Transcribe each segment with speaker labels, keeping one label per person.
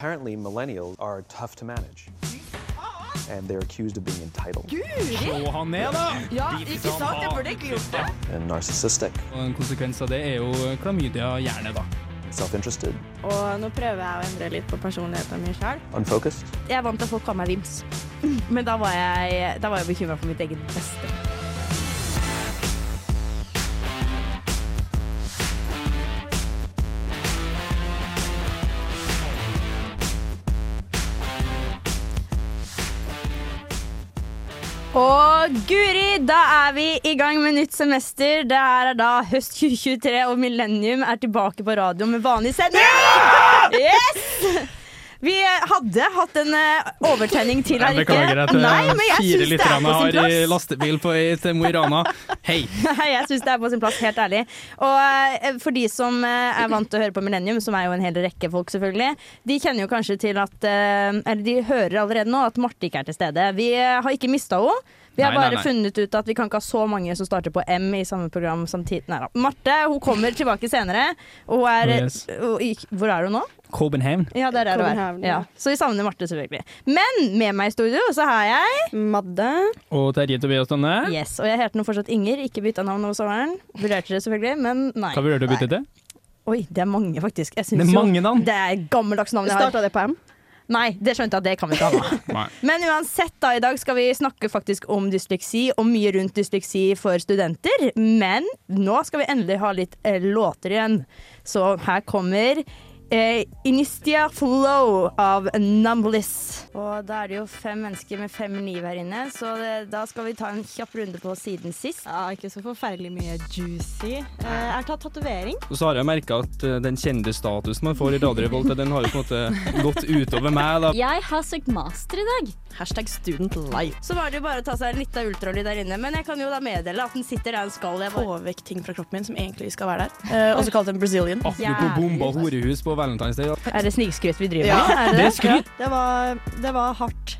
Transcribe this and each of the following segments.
Speaker 1: Apparently, millennials are tough to manage. And they're accused of being entitled
Speaker 2: Slå han ned, da!
Speaker 3: Ja, ikke sant? Jeg burde egentlig gjort det.
Speaker 1: and narcissistic,
Speaker 2: Og en konsekvens av det er jo klamydia-hjerne, da.
Speaker 1: self interested,
Speaker 4: Og nå prøver jeg å endre litt på personligheten min sjøl.
Speaker 1: unfocused.
Speaker 4: Jeg er vant til at folk kaller meg Vims. Men da var jeg, da var jeg bekymra for mitt eget beste. Og guri, da er vi i gang med nytt semester. Det her er da høst 2023, og Millennium er tilbake på radioen med vanlig sending! Yes! Vi hadde hatt en eh, overtenning til her, ikke?
Speaker 2: beklager at eh,
Speaker 4: Nei, men jeg
Speaker 2: fire
Speaker 4: syns det er på sin
Speaker 2: har i
Speaker 4: plass.
Speaker 2: lastebil på vei til Mo i Rana. Hei!
Speaker 4: Nei, jeg syns det er på sin plass, helt ærlig. Og eh, for de som eh, er vant til å høre på Millennium, som er jo en hel rekke folk, selvfølgelig, de kjenner jo kanskje til at eh, Eller de hører allerede nå at Marte ikke er til stede. Vi eh, har ikke mista henne. Vi har
Speaker 2: Nei, nei,
Speaker 4: bare
Speaker 2: nei.
Speaker 4: funnet ut at vi kan ikke ha så mange som starter på M i samme program samtidig. Nei da. Marte hun kommer tilbake senere. Og hun er
Speaker 2: Oh, yes.
Speaker 4: og i- Hvor er hun nå?
Speaker 2: Copenhagen.
Speaker 4: Ja, det er der hun er.
Speaker 5: København, ja.
Speaker 4: Ja. Så vi savner Marte, selvfølgelig. Men med meg i studio så har jeg
Speaker 5: Madde.
Speaker 2: Og Terje Tobias Tønne.
Speaker 4: Yes, Og jeg heter nå fortsatt Inger. Ikke bytta navn over sommeren. Vurderte det selvfølgelig, men nei.
Speaker 2: Hva vurderer du å bytte til?
Speaker 4: Oi, det er mange, faktisk. Jeg
Speaker 2: Det
Speaker 4: synes
Speaker 2: er
Speaker 4: jo-
Speaker 2: mange navn.
Speaker 4: Det er et gammeldags navn jeg har.
Speaker 5: Starta det på M?
Speaker 4: Nei, det skjønte jeg at det kan vi ikke ha nå.
Speaker 2: Nei.
Speaker 4: Men uansett, da, i dag skal vi snakke faktisk om dysleksi, og mye rundt dysleksi for studenter. Men nå skal vi endelig ha litt eh, låter igjen. Så her kommer eh, Inistia Flow av Numbliss. Og da er det jo fem mennesker med fem liv her inne, så det, da skal vi ta en kjapp runde på siden sist.
Speaker 5: Ja, ikke så forferdelig mye juicy. Eh, jeg har tatt tatovering.
Speaker 2: Og så har jeg merka at eh, den kjendisstatusen man får i Radio Revolt, den har jo på en måte gått utover meg, da.
Speaker 6: Jeg har søkt master i dag.
Speaker 5: Hashtag student life.
Speaker 4: Så var det jo bare å ta seg litt av ultralyd der inne, men jeg kan jo da meddele at den sitter der den skal. Jeg bare
Speaker 7: få vekk ting fra kroppen min som egentlig skal være der. Eh, også kalt en Brazilian.
Speaker 2: Apropos bomba horehus på Valentine's Day. da.
Speaker 4: Er det snikskryt vi driver
Speaker 7: Ja.
Speaker 4: med? Er det?
Speaker 2: Det er skryt.
Speaker 5: Det var, det var hardt.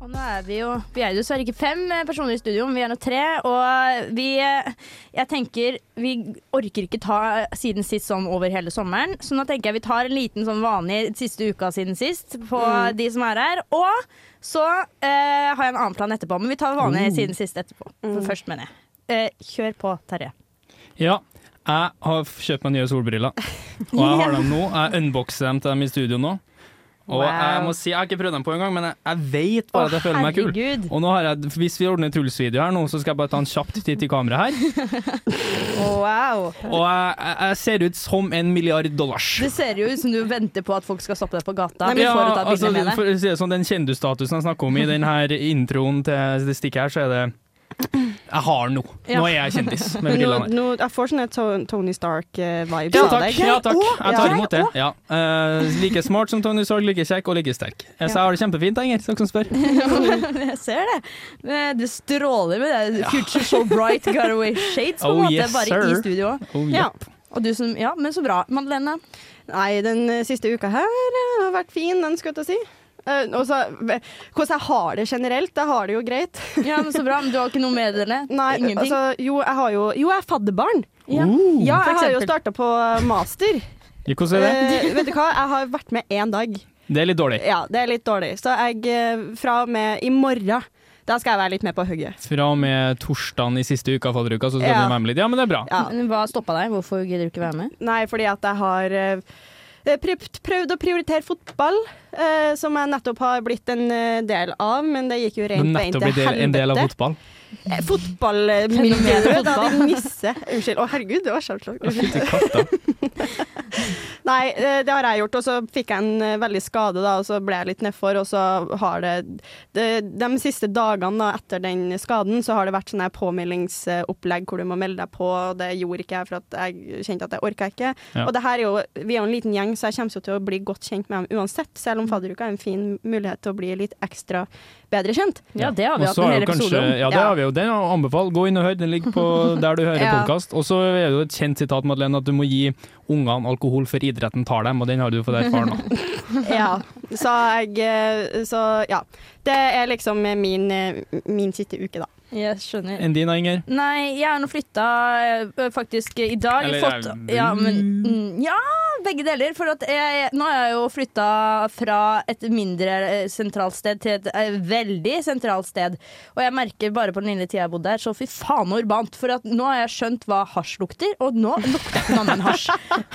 Speaker 4: Og nå er vi jo Vi er jo dessverre ikke fem eh, personer i studio, men vi er nå tre. Og vi eh, Jeg tenker vi orker ikke ta eh, siden sist sånn over hele sommeren, så nå tenker jeg vi tar en liten sånn vanlig siste uka siden sist på de som er her. Og så eh, har jeg en annen plan etterpå, men vi tar vanlig
Speaker 2: Mm.
Speaker 4: siden sist etterpå. For først, mener jeg. Eh, kjør på, Terje.
Speaker 2: Ja, jeg har f- kjøpt meg nye solbriller. Og jeg har dem nå. Jeg unboxer dem til dem i studio nå. Og jeg
Speaker 4: Wow.
Speaker 2: må si, jeg har ikke prøvd dem på engang, men jeg, jeg vet bare at jeg føler meg kul.
Speaker 4: herregud.
Speaker 2: Og nå har jeg, hvis vi ordner Truls-video her nå, så skal jeg bare ta en kjapt titt i kameraet her.
Speaker 4: Wow.
Speaker 2: Og jeg, jeg- jeg ser ut som en milliard dollars.
Speaker 4: Det ser jo ut som du venter på at folk skal stoppe deg på gata.
Speaker 5: Nei, men
Speaker 4: for å ta bilde
Speaker 2: altså,
Speaker 4: med deg.
Speaker 2: for å si det sånn, Den kjendisstatusen jeg snakker om i den her introen til det stikket her, så er det Jeg har den nå. Nå er jeg kjendis med
Speaker 5: Men nå,
Speaker 2: brillene. her.
Speaker 5: nå, jeg får sånne To- Tony Stark-vibes
Speaker 2: Ja
Speaker 5: av
Speaker 2: takk,
Speaker 5: deg.
Speaker 2: ja takk. Jeg tar
Speaker 5: Jeg
Speaker 2: imot det. Ja. Eh, like smart som Tony Sorg, like kjekk og like sterk. Eh, Så jeg har det kjempefint, Inger, dere som spør.
Speaker 4: Jeg ser det. Eh, Du stråler med det. Future so bright, got away shades, på en
Speaker 2: Oh,
Speaker 4: måte.
Speaker 2: yes,
Speaker 4: bare
Speaker 2: sir.
Speaker 4: i studio òg.
Speaker 2: Oh,
Speaker 5: Ja.
Speaker 2: jepp.
Speaker 4: Og du som Ja, men så bra. Madeleine.
Speaker 5: Nei, den eh, siste uka her eh, har vært fin, den skulle jeg til å si. Eh, og så, v- hvordan jeg har det generelt, jeg har det jo greit.
Speaker 4: Ja, men så bra. Men du har ikke noe med dere?
Speaker 5: Nei,
Speaker 4: Ingenting?
Speaker 5: altså, jo, jeg har jo Jo, jeg er fadderbarn.
Speaker 4: ja.
Speaker 5: Ja,
Speaker 4: for
Speaker 5: jeg har jo
Speaker 4: eksempel.
Speaker 5: starta på eh, master.
Speaker 2: Ja, Hvordan er det?
Speaker 5: Eh, vet du hva, jeg har vært med én dag.
Speaker 2: Det er litt dårlig.
Speaker 5: Ja, det er litt dårlig. Så jeg, eh, fra og med i morgen, da skal jeg være litt med på hugget.
Speaker 2: Fra og med torsdagen i siste uka, fadderuka, så skal
Speaker 5: Ja.
Speaker 2: du være med litt. Ja, men det er bra.
Speaker 5: Ja.
Speaker 4: Men Hva stoppa deg? Hvorfor gidder du ikke være med?
Speaker 5: Nei, fordi at jeg har eh, prøvd, prøvd å prioritere fotball, eh, som jeg nettopp har blitt en eh, del av, men det gikk jo
Speaker 2: Du
Speaker 5: rent beint
Speaker 2: nettopp
Speaker 5: til
Speaker 2: blitt en del av
Speaker 5: helvete.
Speaker 2: fotball.
Speaker 5: Eh,
Speaker 4: Fenomenet
Speaker 5: Fotballmiljøet, da.
Speaker 4: fotball.
Speaker 5: Det nisse. Unnskyld. Å, herregud, det var skjellslag. Unnskyld.
Speaker 2: Fytti katta.
Speaker 5: Nei, eh, det har jeg gjort, og så fikk jeg en eh, veldig skade, da, og så ble jeg litt nedfor, og så har det, det De siste dagene da, etter den skaden, så har det vært sånne her påmeldingsopplegg hvor du må melde deg på, og det gjorde ikke jeg, for at jeg kjente at jeg orka ikke.
Speaker 2: Ja.
Speaker 5: Og det her er jo Vi er jo en liten gjeng, så jeg kommer jo til å bli godt kjent med dem uansett, selv om fadderuka er en fin mulighet til å bli litt ekstra bedre kjent.
Speaker 4: Ja, det har vi
Speaker 2: Og
Speaker 4: hatt
Speaker 2: så
Speaker 4: en
Speaker 2: er
Speaker 4: hel
Speaker 2: jo kanskje-
Speaker 4: episode om.
Speaker 2: Ja, det
Speaker 5: Ja.
Speaker 2: har vi jo. Den er å anbefale. Gå inn og hør. Den ligger på der du hører
Speaker 5: Ja.
Speaker 2: podkast. Og så er det jo et kjent sitat, Madeleine, at du må gi ungene alkohol før idretten tar dem, og den har du fått erfare nå.
Speaker 5: Ja. Så jeg eh, Så ja. Det er liksom min, eh, min siste uke, da.
Speaker 4: Jeg skjønner.
Speaker 2: Enn din, da, Inger?
Speaker 4: Nei, jeg har nå flytta eh, faktisk i dag.
Speaker 2: Eller,
Speaker 4: fått,
Speaker 2: eh,
Speaker 4: ja, men, mm, ja, begge deler. For at jeg, nå har jeg jo flytta fra et mindre eh, sentralt sted til et eh, veldig sentralt sted. Og jeg merker bare på den lille tida jeg bodde her, så fy faen urbant. For at nå har jeg skjønt hva hasj lukter, og nå lukter ikke noe annet enn hasj.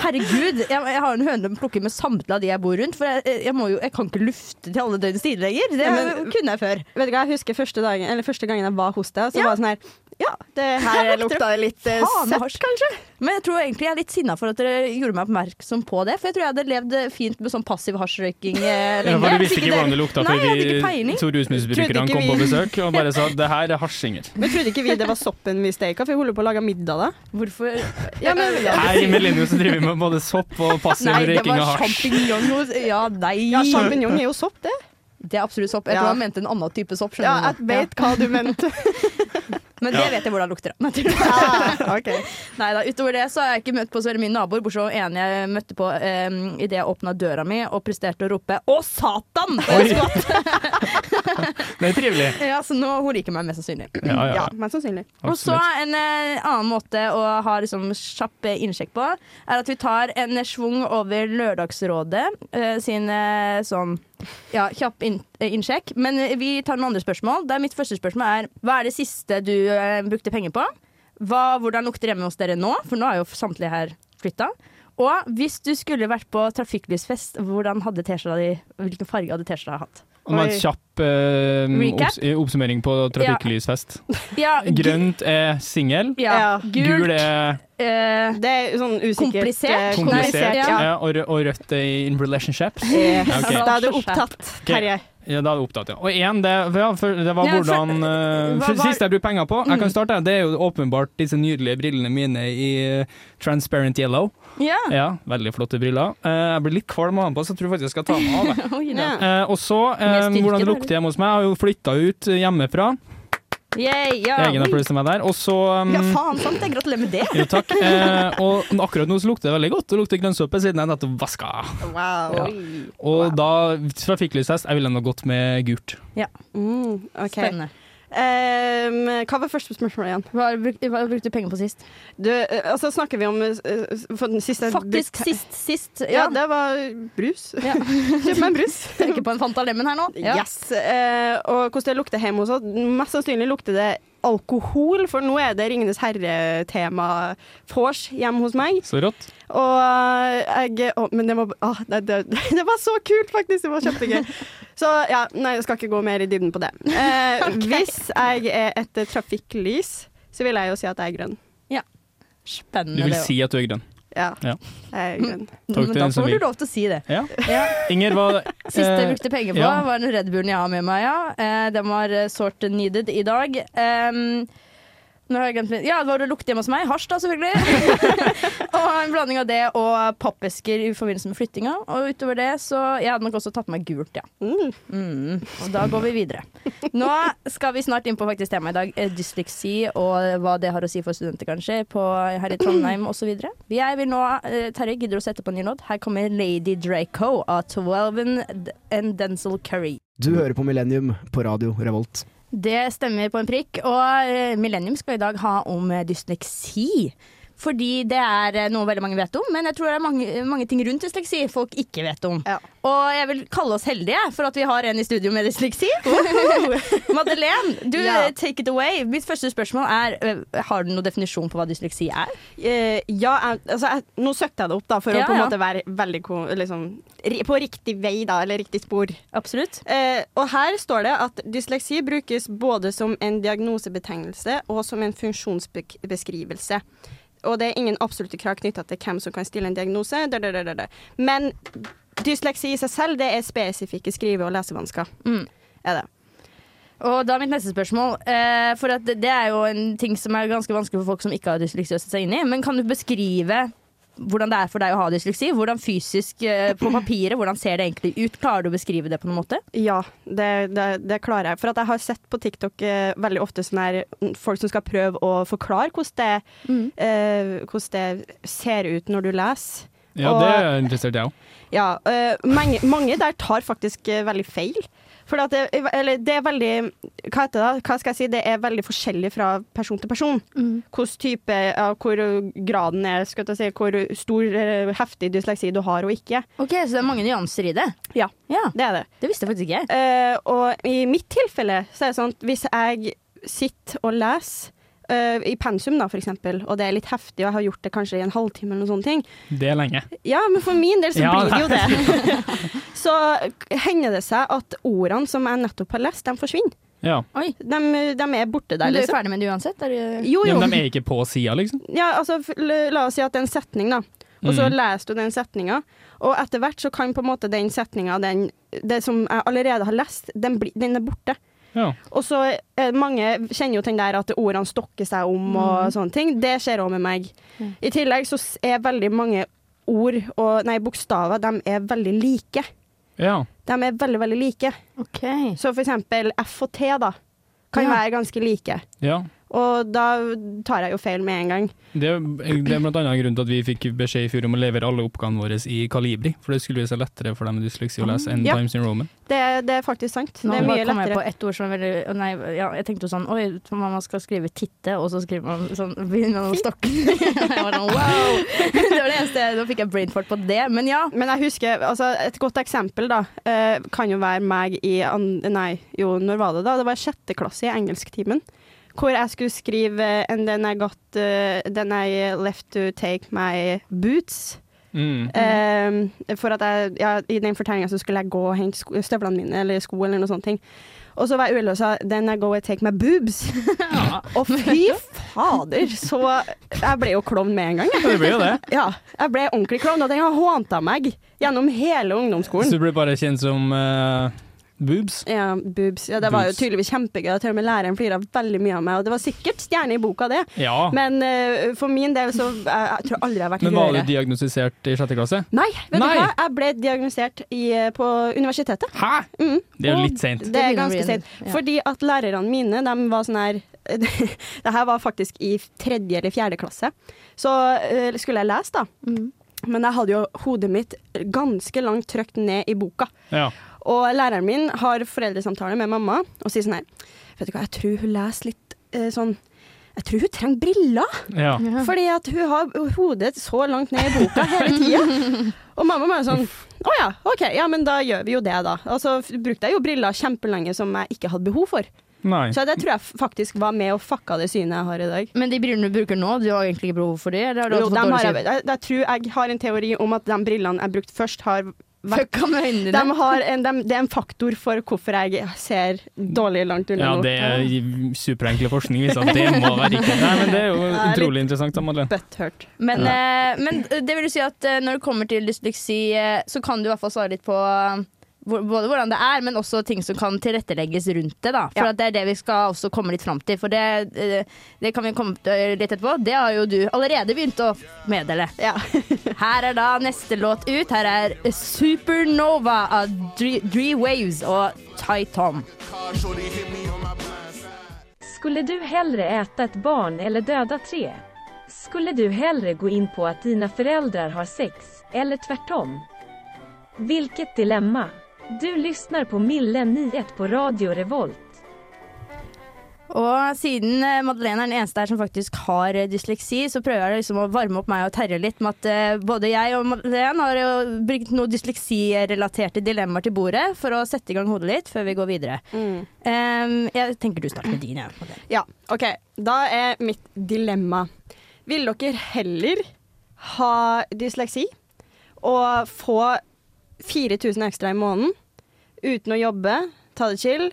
Speaker 4: Herregud. Jeg, jeg har en høne å plukke med samtlige av de jeg bor rundt, for jeg, jeg, må jo, jeg kan ikke lufte til alle døgnets tider lenger. Det
Speaker 5: Ja, men-
Speaker 4: kunne jeg før.
Speaker 5: Vet du hva, Jeg husker første, dagen, eller første gangen jeg var hos deg, så
Speaker 4: Ja.
Speaker 5: var det sånn her Ja, det her
Speaker 4: Her lukter
Speaker 5: lukta det litt eh,
Speaker 4: faen meg
Speaker 5: søtt, kanskje.
Speaker 4: Men jeg tror egentlig jeg er litt sinna for at dere gjorde meg oppmerksom på det. For jeg tror jeg hadde levd fint med sånn passiv hasjrøyking eh,
Speaker 2: Ja,
Speaker 4: lenge.
Speaker 2: for Du
Speaker 4: Hvis
Speaker 2: visste ikke hvordan det lukta
Speaker 4: Nei, jeg hadde
Speaker 2: fordi
Speaker 4: ikke peiling.
Speaker 2: to rusmisbrukere
Speaker 5: Trodde ikke
Speaker 2: kom på
Speaker 5: vi-
Speaker 2: besøk og bare sa det her er hasjinger.
Speaker 5: Men trodde ikke vi det var soppen vi steka, for vi holder på å lage middag da.
Speaker 4: Hvorfor
Speaker 5: Ja, men,
Speaker 2: Her i Millennium så driver vi med både sopp og passiv
Speaker 4: Nei, det
Speaker 2: røyking
Speaker 4: var
Speaker 2: av hasj.
Speaker 4: sjampinjong hos Ja, nei.
Speaker 5: ja, Sjampinjong er jo sopp, det.
Speaker 4: det er absolutt sopp. Jeg
Speaker 5: Ja.
Speaker 4: tror han mente en annen type sopp.
Speaker 5: Ja,
Speaker 4: skjønner du
Speaker 5: jeg
Speaker 4: nå.
Speaker 5: vet hva du mente.
Speaker 4: Ja. Men det vet jeg hvordan lukter. Nei
Speaker 5: ok.
Speaker 4: da. Utover det så har jeg ikke møtt på så veldig mye naboer, bortsett fra en jeg møtte på um, idet jeg åpna døra mi og presterte å rope 'Å, satan!' Og jeg skvatt.
Speaker 2: Det er trivelig.
Speaker 4: Ja, så nå hun liker meg mest sannsynlig.
Speaker 2: Ja, ja,
Speaker 5: Ja,
Speaker 2: ja.
Speaker 5: mest sannsynlig.
Speaker 4: Og så
Speaker 2: Absolutt.
Speaker 4: en eh, annen måte å ha liksom, kjapp eh, innsjekk på, er at vi tar en svung over Lørdagsrådet eh, sin eh, sånn ja, kjapp inn, eh, innsjekk. Men eh, vi tar noen andre spørsmål. Der mitt første spørsmål er hva er det siste du eh, brukte penger på? Hva, hvordan lukter hjemme hos dere nå? For nå er jo samtlige her flytta. Og hvis du skulle vært på trafikklysfest, hvordan hadde T-skjorta di, hvilken farge hadde T-skjorta hatt?
Speaker 2: Om en
Speaker 5: Oi.
Speaker 2: kjapp eh,
Speaker 4: Recap?
Speaker 2: obs oppsummering på trafikklysfest.
Speaker 4: Ja, gu-
Speaker 2: Grønt er singel,
Speaker 4: Ja,
Speaker 5: Ja.
Speaker 4: gult.
Speaker 2: gul er
Speaker 4: eh,
Speaker 5: Det er sånn usikkert.
Speaker 4: Komplisert?
Speaker 5: eh,
Speaker 4: Komplisert,
Speaker 2: komplisert,
Speaker 4: ja.
Speaker 2: ja, eh, og, rø- og rødt er in relationships.
Speaker 5: Yes.
Speaker 2: Ja, ok.
Speaker 5: Da er du opptatt, Terje.
Speaker 2: Ja, da er det opptatt, ja. Og én, det, ja, for det var
Speaker 4: Ja, for-
Speaker 2: hvordan eh,
Speaker 4: hva
Speaker 2: for,
Speaker 4: var- Mm.
Speaker 2: Sist jeg brukte penger på, jeg kan starte, det er jo åpenbart disse nydelige brillene mine i eh, transparent yellow.
Speaker 4: ja.
Speaker 2: Ja, Veldig flotte briller. Eh, jeg blir litt kvalm av dem på, så jeg tror faktisk jeg skal ta dem av. jeg.
Speaker 4: Oi, da.
Speaker 5: Ja.
Speaker 2: Eh, og så,
Speaker 4: Med
Speaker 2: eh,
Speaker 4: styrke,
Speaker 2: hvordan det
Speaker 4: da,
Speaker 2: lukter hjemme hos meg. Jeg har jo flytta ut eh, hjemmefra.
Speaker 4: Yay, ja.
Speaker 2: Egen
Speaker 4: Oi.
Speaker 2: applaus til meg der. Og så um,
Speaker 4: Ja, faen sant, jeg gratulerer med det.
Speaker 2: Jo, takk. Eh, og akkurat nå så lukter det veldig godt. Det lukter grønnsåpe siden jeg nettopp vaska.
Speaker 5: Wow.
Speaker 2: Ja.
Speaker 5: Oi.
Speaker 2: Og da, trafikklyshest, jeg ville nå gått med gult.
Speaker 5: Mm, ok.
Speaker 4: Spennende.
Speaker 5: Ehm, hva var første spørsmål igjen?
Speaker 4: Hva, bruk, hva brukte du penger på sist?
Speaker 5: Du, eh, altså snakker vi om eh, s- for den siste
Speaker 4: Faktisk sist, sist.
Speaker 5: Ja,
Speaker 4: Ja,
Speaker 5: det var brus.
Speaker 4: Ja.
Speaker 5: Kjøp meg en brus.
Speaker 4: tenker på en Fanta Lemon her nå. Ja.
Speaker 5: Yes. Eh, og hvordan det lukter hjemme hos oss? Mest sannsynlig lukter det alkohol, for nå er det Ringenes herre-tema vors hjemme hos meg.
Speaker 2: Så rått.
Speaker 5: Og jeg å, Men det var, ah, nei, det, det var så kult, faktisk! Det var kjempegøy. Så ja, nei, jeg skal ikke gå mer i dybden på det. Eh, Hvis jeg er et eh, trafikklys, så vil jeg jo si at jeg er grønn.
Speaker 2: Du
Speaker 4: Spennende.
Speaker 2: vil
Speaker 4: det også.
Speaker 2: si at du er grønn.
Speaker 5: Ja,
Speaker 2: Ja.
Speaker 5: jeg er grønn.
Speaker 2: Takk til
Speaker 4: Men da
Speaker 2: den som
Speaker 4: får
Speaker 2: vil.
Speaker 4: du lov til å si det.
Speaker 2: Ja.
Speaker 4: Ja.
Speaker 2: Inger, hva
Speaker 4: Siste jeg
Speaker 2: eh,
Speaker 4: brukte penger på,
Speaker 2: ja.
Speaker 4: var den Red Bullen jeg har med meg. Ja. Eh, den var eh, sort needed i dag. Em, nå har jeg glemt min- Ja, det var det lukte hjemme hos meg. Hasj, da, selvfølgelig. og en blanding av det og pappesker i forbindelse med flyttinga. Og utover det, så Jeg hadde nok også tatt med meg gult, ja.
Speaker 5: Mm.
Speaker 4: Mm, og da går vi videre. Nå skal vi snart inn på faktisk temaet i dag, eh, dysleksi og hva det har å si for studenter, kanskje, på, her i Trondheim osv. Jeg vil nå, eh, Terje, gidder du å sette på en ny låt? Her kommer Lady Draco av Twelven and Denzil Curry.
Speaker 8: Du hører på Millennium på radio Revolt.
Speaker 4: Det stemmer på en prikk. Og eh, Millennium skal i dag ha om eh, dysleksi. Fordi det er eh, noe veldig mange vet om, men jeg tror det er mange, mange ting rundt dysleksi folk ikke vet om.
Speaker 5: Ja.
Speaker 4: Og jeg vil kalle oss heldige for at vi har en i studio med dysleksi. Madeleine, du,
Speaker 5: Ja.
Speaker 4: eh, take it away. Mitt første spørsmål er eh, har du noen definisjon på hva dysleksi er?
Speaker 5: Eh, ja, jeg, altså, jeg, nå søkte jeg det opp da, for
Speaker 4: Ja,
Speaker 5: å på en
Speaker 4: ja.
Speaker 5: måte være veldig ko- liksom, ri- på riktig vei, da, eller riktig spor.
Speaker 4: Absolutt.
Speaker 5: Eh, og her står det at dysleksi brukes både som en diagnosebetegnelse og som en funksjonsbeskrivelse. Og det er ingen absolutte krav knytta til hvem som kan stille en diagnose. Da, da, da, da, da. Men dysleksi i seg selv, det er spesifikke skrive- og lesevansker.
Speaker 4: Mm.
Speaker 5: Er det.
Speaker 4: Og da mitt neste spørsmål. Eh, for at det, det er jo en ting som er ganske vanskelig for folk som ikke har dysleksi å sette seg inn i. Men kan du beskrive hvordan det er for deg å ha dysleksi? Hvordan fysisk, eh, på papiret, hvordan ser det egentlig ut? Klarer du å beskrive det på noen måte?
Speaker 5: Ja, det, det, det klarer jeg. For at jeg har sett på TikTok eh, veldig ofte sånn her mm, folk som skal prøve å forklare hvordan det,
Speaker 4: Mm.
Speaker 5: eh, hvordan det ser ut når du leser.
Speaker 2: Ja, det er interessert jeg òg.
Speaker 5: Ja, eh, mange, mange der tar faktisk eh, veldig feil. For at det, eller det er veldig Hva heter det? da? Hva skal jeg si? Det er veldig forskjellig fra person til person.
Speaker 4: Mm.
Speaker 5: Hvordan type, ja, hvor graden er, skal jeg si, hvor stor, eh, heftig dysleksi du har og ikke.
Speaker 4: Ok, Så det er mange nyanser i det?
Speaker 5: Ja,
Speaker 4: Ja,
Speaker 5: det er det.
Speaker 4: Det visste jeg faktisk ikke. jeg.
Speaker 5: Eh, og i mitt tilfelle så er det sånn at hvis jeg sitter og leser eh, i pensum, da, for eksempel, og det er litt heftig, og jeg har gjort det kanskje i en halvtime, eller noen sånne ting,
Speaker 2: Det er lenge.
Speaker 5: ja, men for min del så
Speaker 2: Ja,
Speaker 5: blir det jo det. så hender det seg at ordene som jeg nettopp har lest, de forsvinner.
Speaker 2: Ja.
Speaker 4: Oi,
Speaker 5: De, de er borte der,
Speaker 4: Men du er
Speaker 5: liksom.
Speaker 4: ferdig med det uansett? Er du...
Speaker 5: Jo,
Speaker 2: ja,
Speaker 5: jo.
Speaker 2: men de er ikke på sida, liksom.
Speaker 5: Ja, altså, f- l- la oss si at det er en setning, da. Og
Speaker 2: Mm.
Speaker 5: så leser du den setninga, og etter hvert så kan på en måte den setninga, den- det som jeg allerede har lest, den, bli, den er borte.
Speaker 2: Ja.
Speaker 5: Og så eh, mange kjenner jo til den der at ordene stokker seg om
Speaker 4: Mm.
Speaker 5: og sånne ting. Det skjer òg med meg. I tillegg så s- er veldig mange ord og nei, bokstaver de er veldig like.
Speaker 2: ja.
Speaker 5: De er veldig, veldig like.
Speaker 4: Ok.
Speaker 5: Så for eksempel F og T, da, kan
Speaker 4: Ja.
Speaker 5: være ganske like.
Speaker 2: ja.
Speaker 5: Og da tar jeg jo feil med en gang.
Speaker 2: Det, er- det er blant annet grunnen til at vi fikk beskjed i fjor om å levere alle oppgavene våre i Kalibri, for det skulle være lettere for dem med dysleksi å lese enn
Speaker 5: Ja.
Speaker 2: Times in Roman.
Speaker 5: Det, det er faktisk sant.
Speaker 4: Nå
Speaker 5: det
Speaker 4: bare
Speaker 5: er mye
Speaker 4: kom jeg på
Speaker 5: lettere.
Speaker 4: ett ord som er veldig å Nei, ja, jeg tenkte jo sånn Oi, man skal skrive 'titte', og så skriver man sånn Begynner man å stokke. jeg var sånn wow! Det var det eneste Nå fikk jeg brainfart på det, men ja.
Speaker 5: Men jeg husker, altså et godt eksempel da, eh, kan jo være meg i, an- nei, jo, når var det da? Det var sjette klasse i engelsktimen, hvor jeg skulle skrive eh, And then I got, eh, then I left to take my boots.
Speaker 2: Mm.
Speaker 5: Eh, for at jeg, ja, i den fortellingen så skulle jeg gå og hente sko, støvlene mine, eller sko eller noe sånt ting. Og så var jeg uheldig og sa Then I go and take my boobs. og fy fader, så jeg ble jo klovn med en gang, jeg.
Speaker 2: Ja, det blir jo det.
Speaker 5: Ja, jeg ble ordentlig klovn, og den har hånta meg gjennom hele
Speaker 2: Så
Speaker 5: ungdomsskolen.
Speaker 2: du blir bare kjent som eh, boobs.
Speaker 5: Ja, boobs. Ja, det var jo
Speaker 2: Boobs.
Speaker 5: tydeligvis kjempegøy, og til og med læreren flira veldig mye av meg, og det var sikkert stjerne i boka, det.
Speaker 2: Ja. Men,
Speaker 5: Men eh, for min del så jeg, jeg tror aldri jeg har vært
Speaker 2: Ah. var du
Speaker 5: rødere.
Speaker 2: diagnostisert i sjette klasse?
Speaker 5: Nei, vet
Speaker 2: Nei.
Speaker 5: du hva? Jeg ble diagnosert i, eh, på universitetet.
Speaker 2: Hæ?!
Speaker 5: Mm.
Speaker 2: Det er jo litt seint.
Speaker 5: Det er
Speaker 4: begynner å bli
Speaker 5: ganske
Speaker 4: en-
Speaker 5: sent.
Speaker 4: ja.
Speaker 5: Fordi at lærerne mine, de var sånn her Det her var faktisk i tredje eller fjerde klasse. Så eh, skulle jeg lese, da. Men jeg hadde jo hodet mitt ganske langt trykt ned i boka.
Speaker 2: Ja.
Speaker 5: Og læreren min har foreldresamtale med mamma og sier sånn her Vet du hva, jeg tror hun leser litt eh, sånn Jeg tror hun trenger briller,
Speaker 2: ja.
Speaker 5: fordi at hun har hodet så langt ned i boka hele tida. Og mamma bare sånn Å ja, OK, ja, men da gjør vi jo det, da. Og så f- brukte jeg jo briller kjempelenge som jeg ikke hadde behov for.
Speaker 2: Nei.
Speaker 5: Så det tror jeg f- faktisk var med og fucka det synet jeg har i dag.
Speaker 4: Men de brillene du bruker nå, du har egentlig ikke behov for de? Eller har du
Speaker 5: Jo,
Speaker 4: også fått
Speaker 5: dem
Speaker 4: dårlig
Speaker 5: har jeg,
Speaker 4: syn?
Speaker 5: jeg, jeg tror jeg har en teori om at de brillene jeg brukte først, har vært
Speaker 4: Fucka med øynene
Speaker 5: de
Speaker 4: dine.
Speaker 5: har en, dem- Det er en faktor for hvorfor jeg ser dårlig langt unna
Speaker 2: Ja,
Speaker 5: nå.
Speaker 2: det er superenkel forskning viser at det må være riktig. Nei, men det er jo
Speaker 5: Nei,
Speaker 2: utrolig interessant da, Madeleine.
Speaker 5: Butthurt.
Speaker 4: Men, eh, men det vil jo si at eh, når det kommer til dysleksi, eh, så kan du i hvert fall svare litt på eh, hvor- både hvordan det er, men også ting som kan tilrettelegges rundt det. Da. For
Speaker 5: Ja.
Speaker 4: at det er det vi skal også komme litt fram til. For det, eh, det kan vi komme til eh, litt etterpå. Det har jo du allerede begynt å meddele.
Speaker 5: Ja.
Speaker 4: Her er da neste låt ut. Her er Supernova av Dre Dre Waves og Ty Tom.
Speaker 9: Skulle du hellre äta ett barn eller döda tre? Skulle du hellre gå in på att dina föräldrar har sex, eller tvärtom? Vilket dilemma! Du lyssnar på Mille 91 på Radio Revolt.
Speaker 4: Og siden eh, Madeleine er den eneste her som faktisk har eh, dysleksi, så prøver jeg liksom å varme opp meg og Terje litt med at eh, både jeg og Madeleine har jo brukt noen dysleksirelaterte dilemmaer til bordet for å sette i gang hodet litt før vi går videre. Eh, jeg tenker du starter med din, jeg. Madeleine.
Speaker 5: ja, OK. Da er mitt dilemma. Vil dere heller ha dysleksi og få 4000 ekstra i måneden uten å jobbe, ta det chill,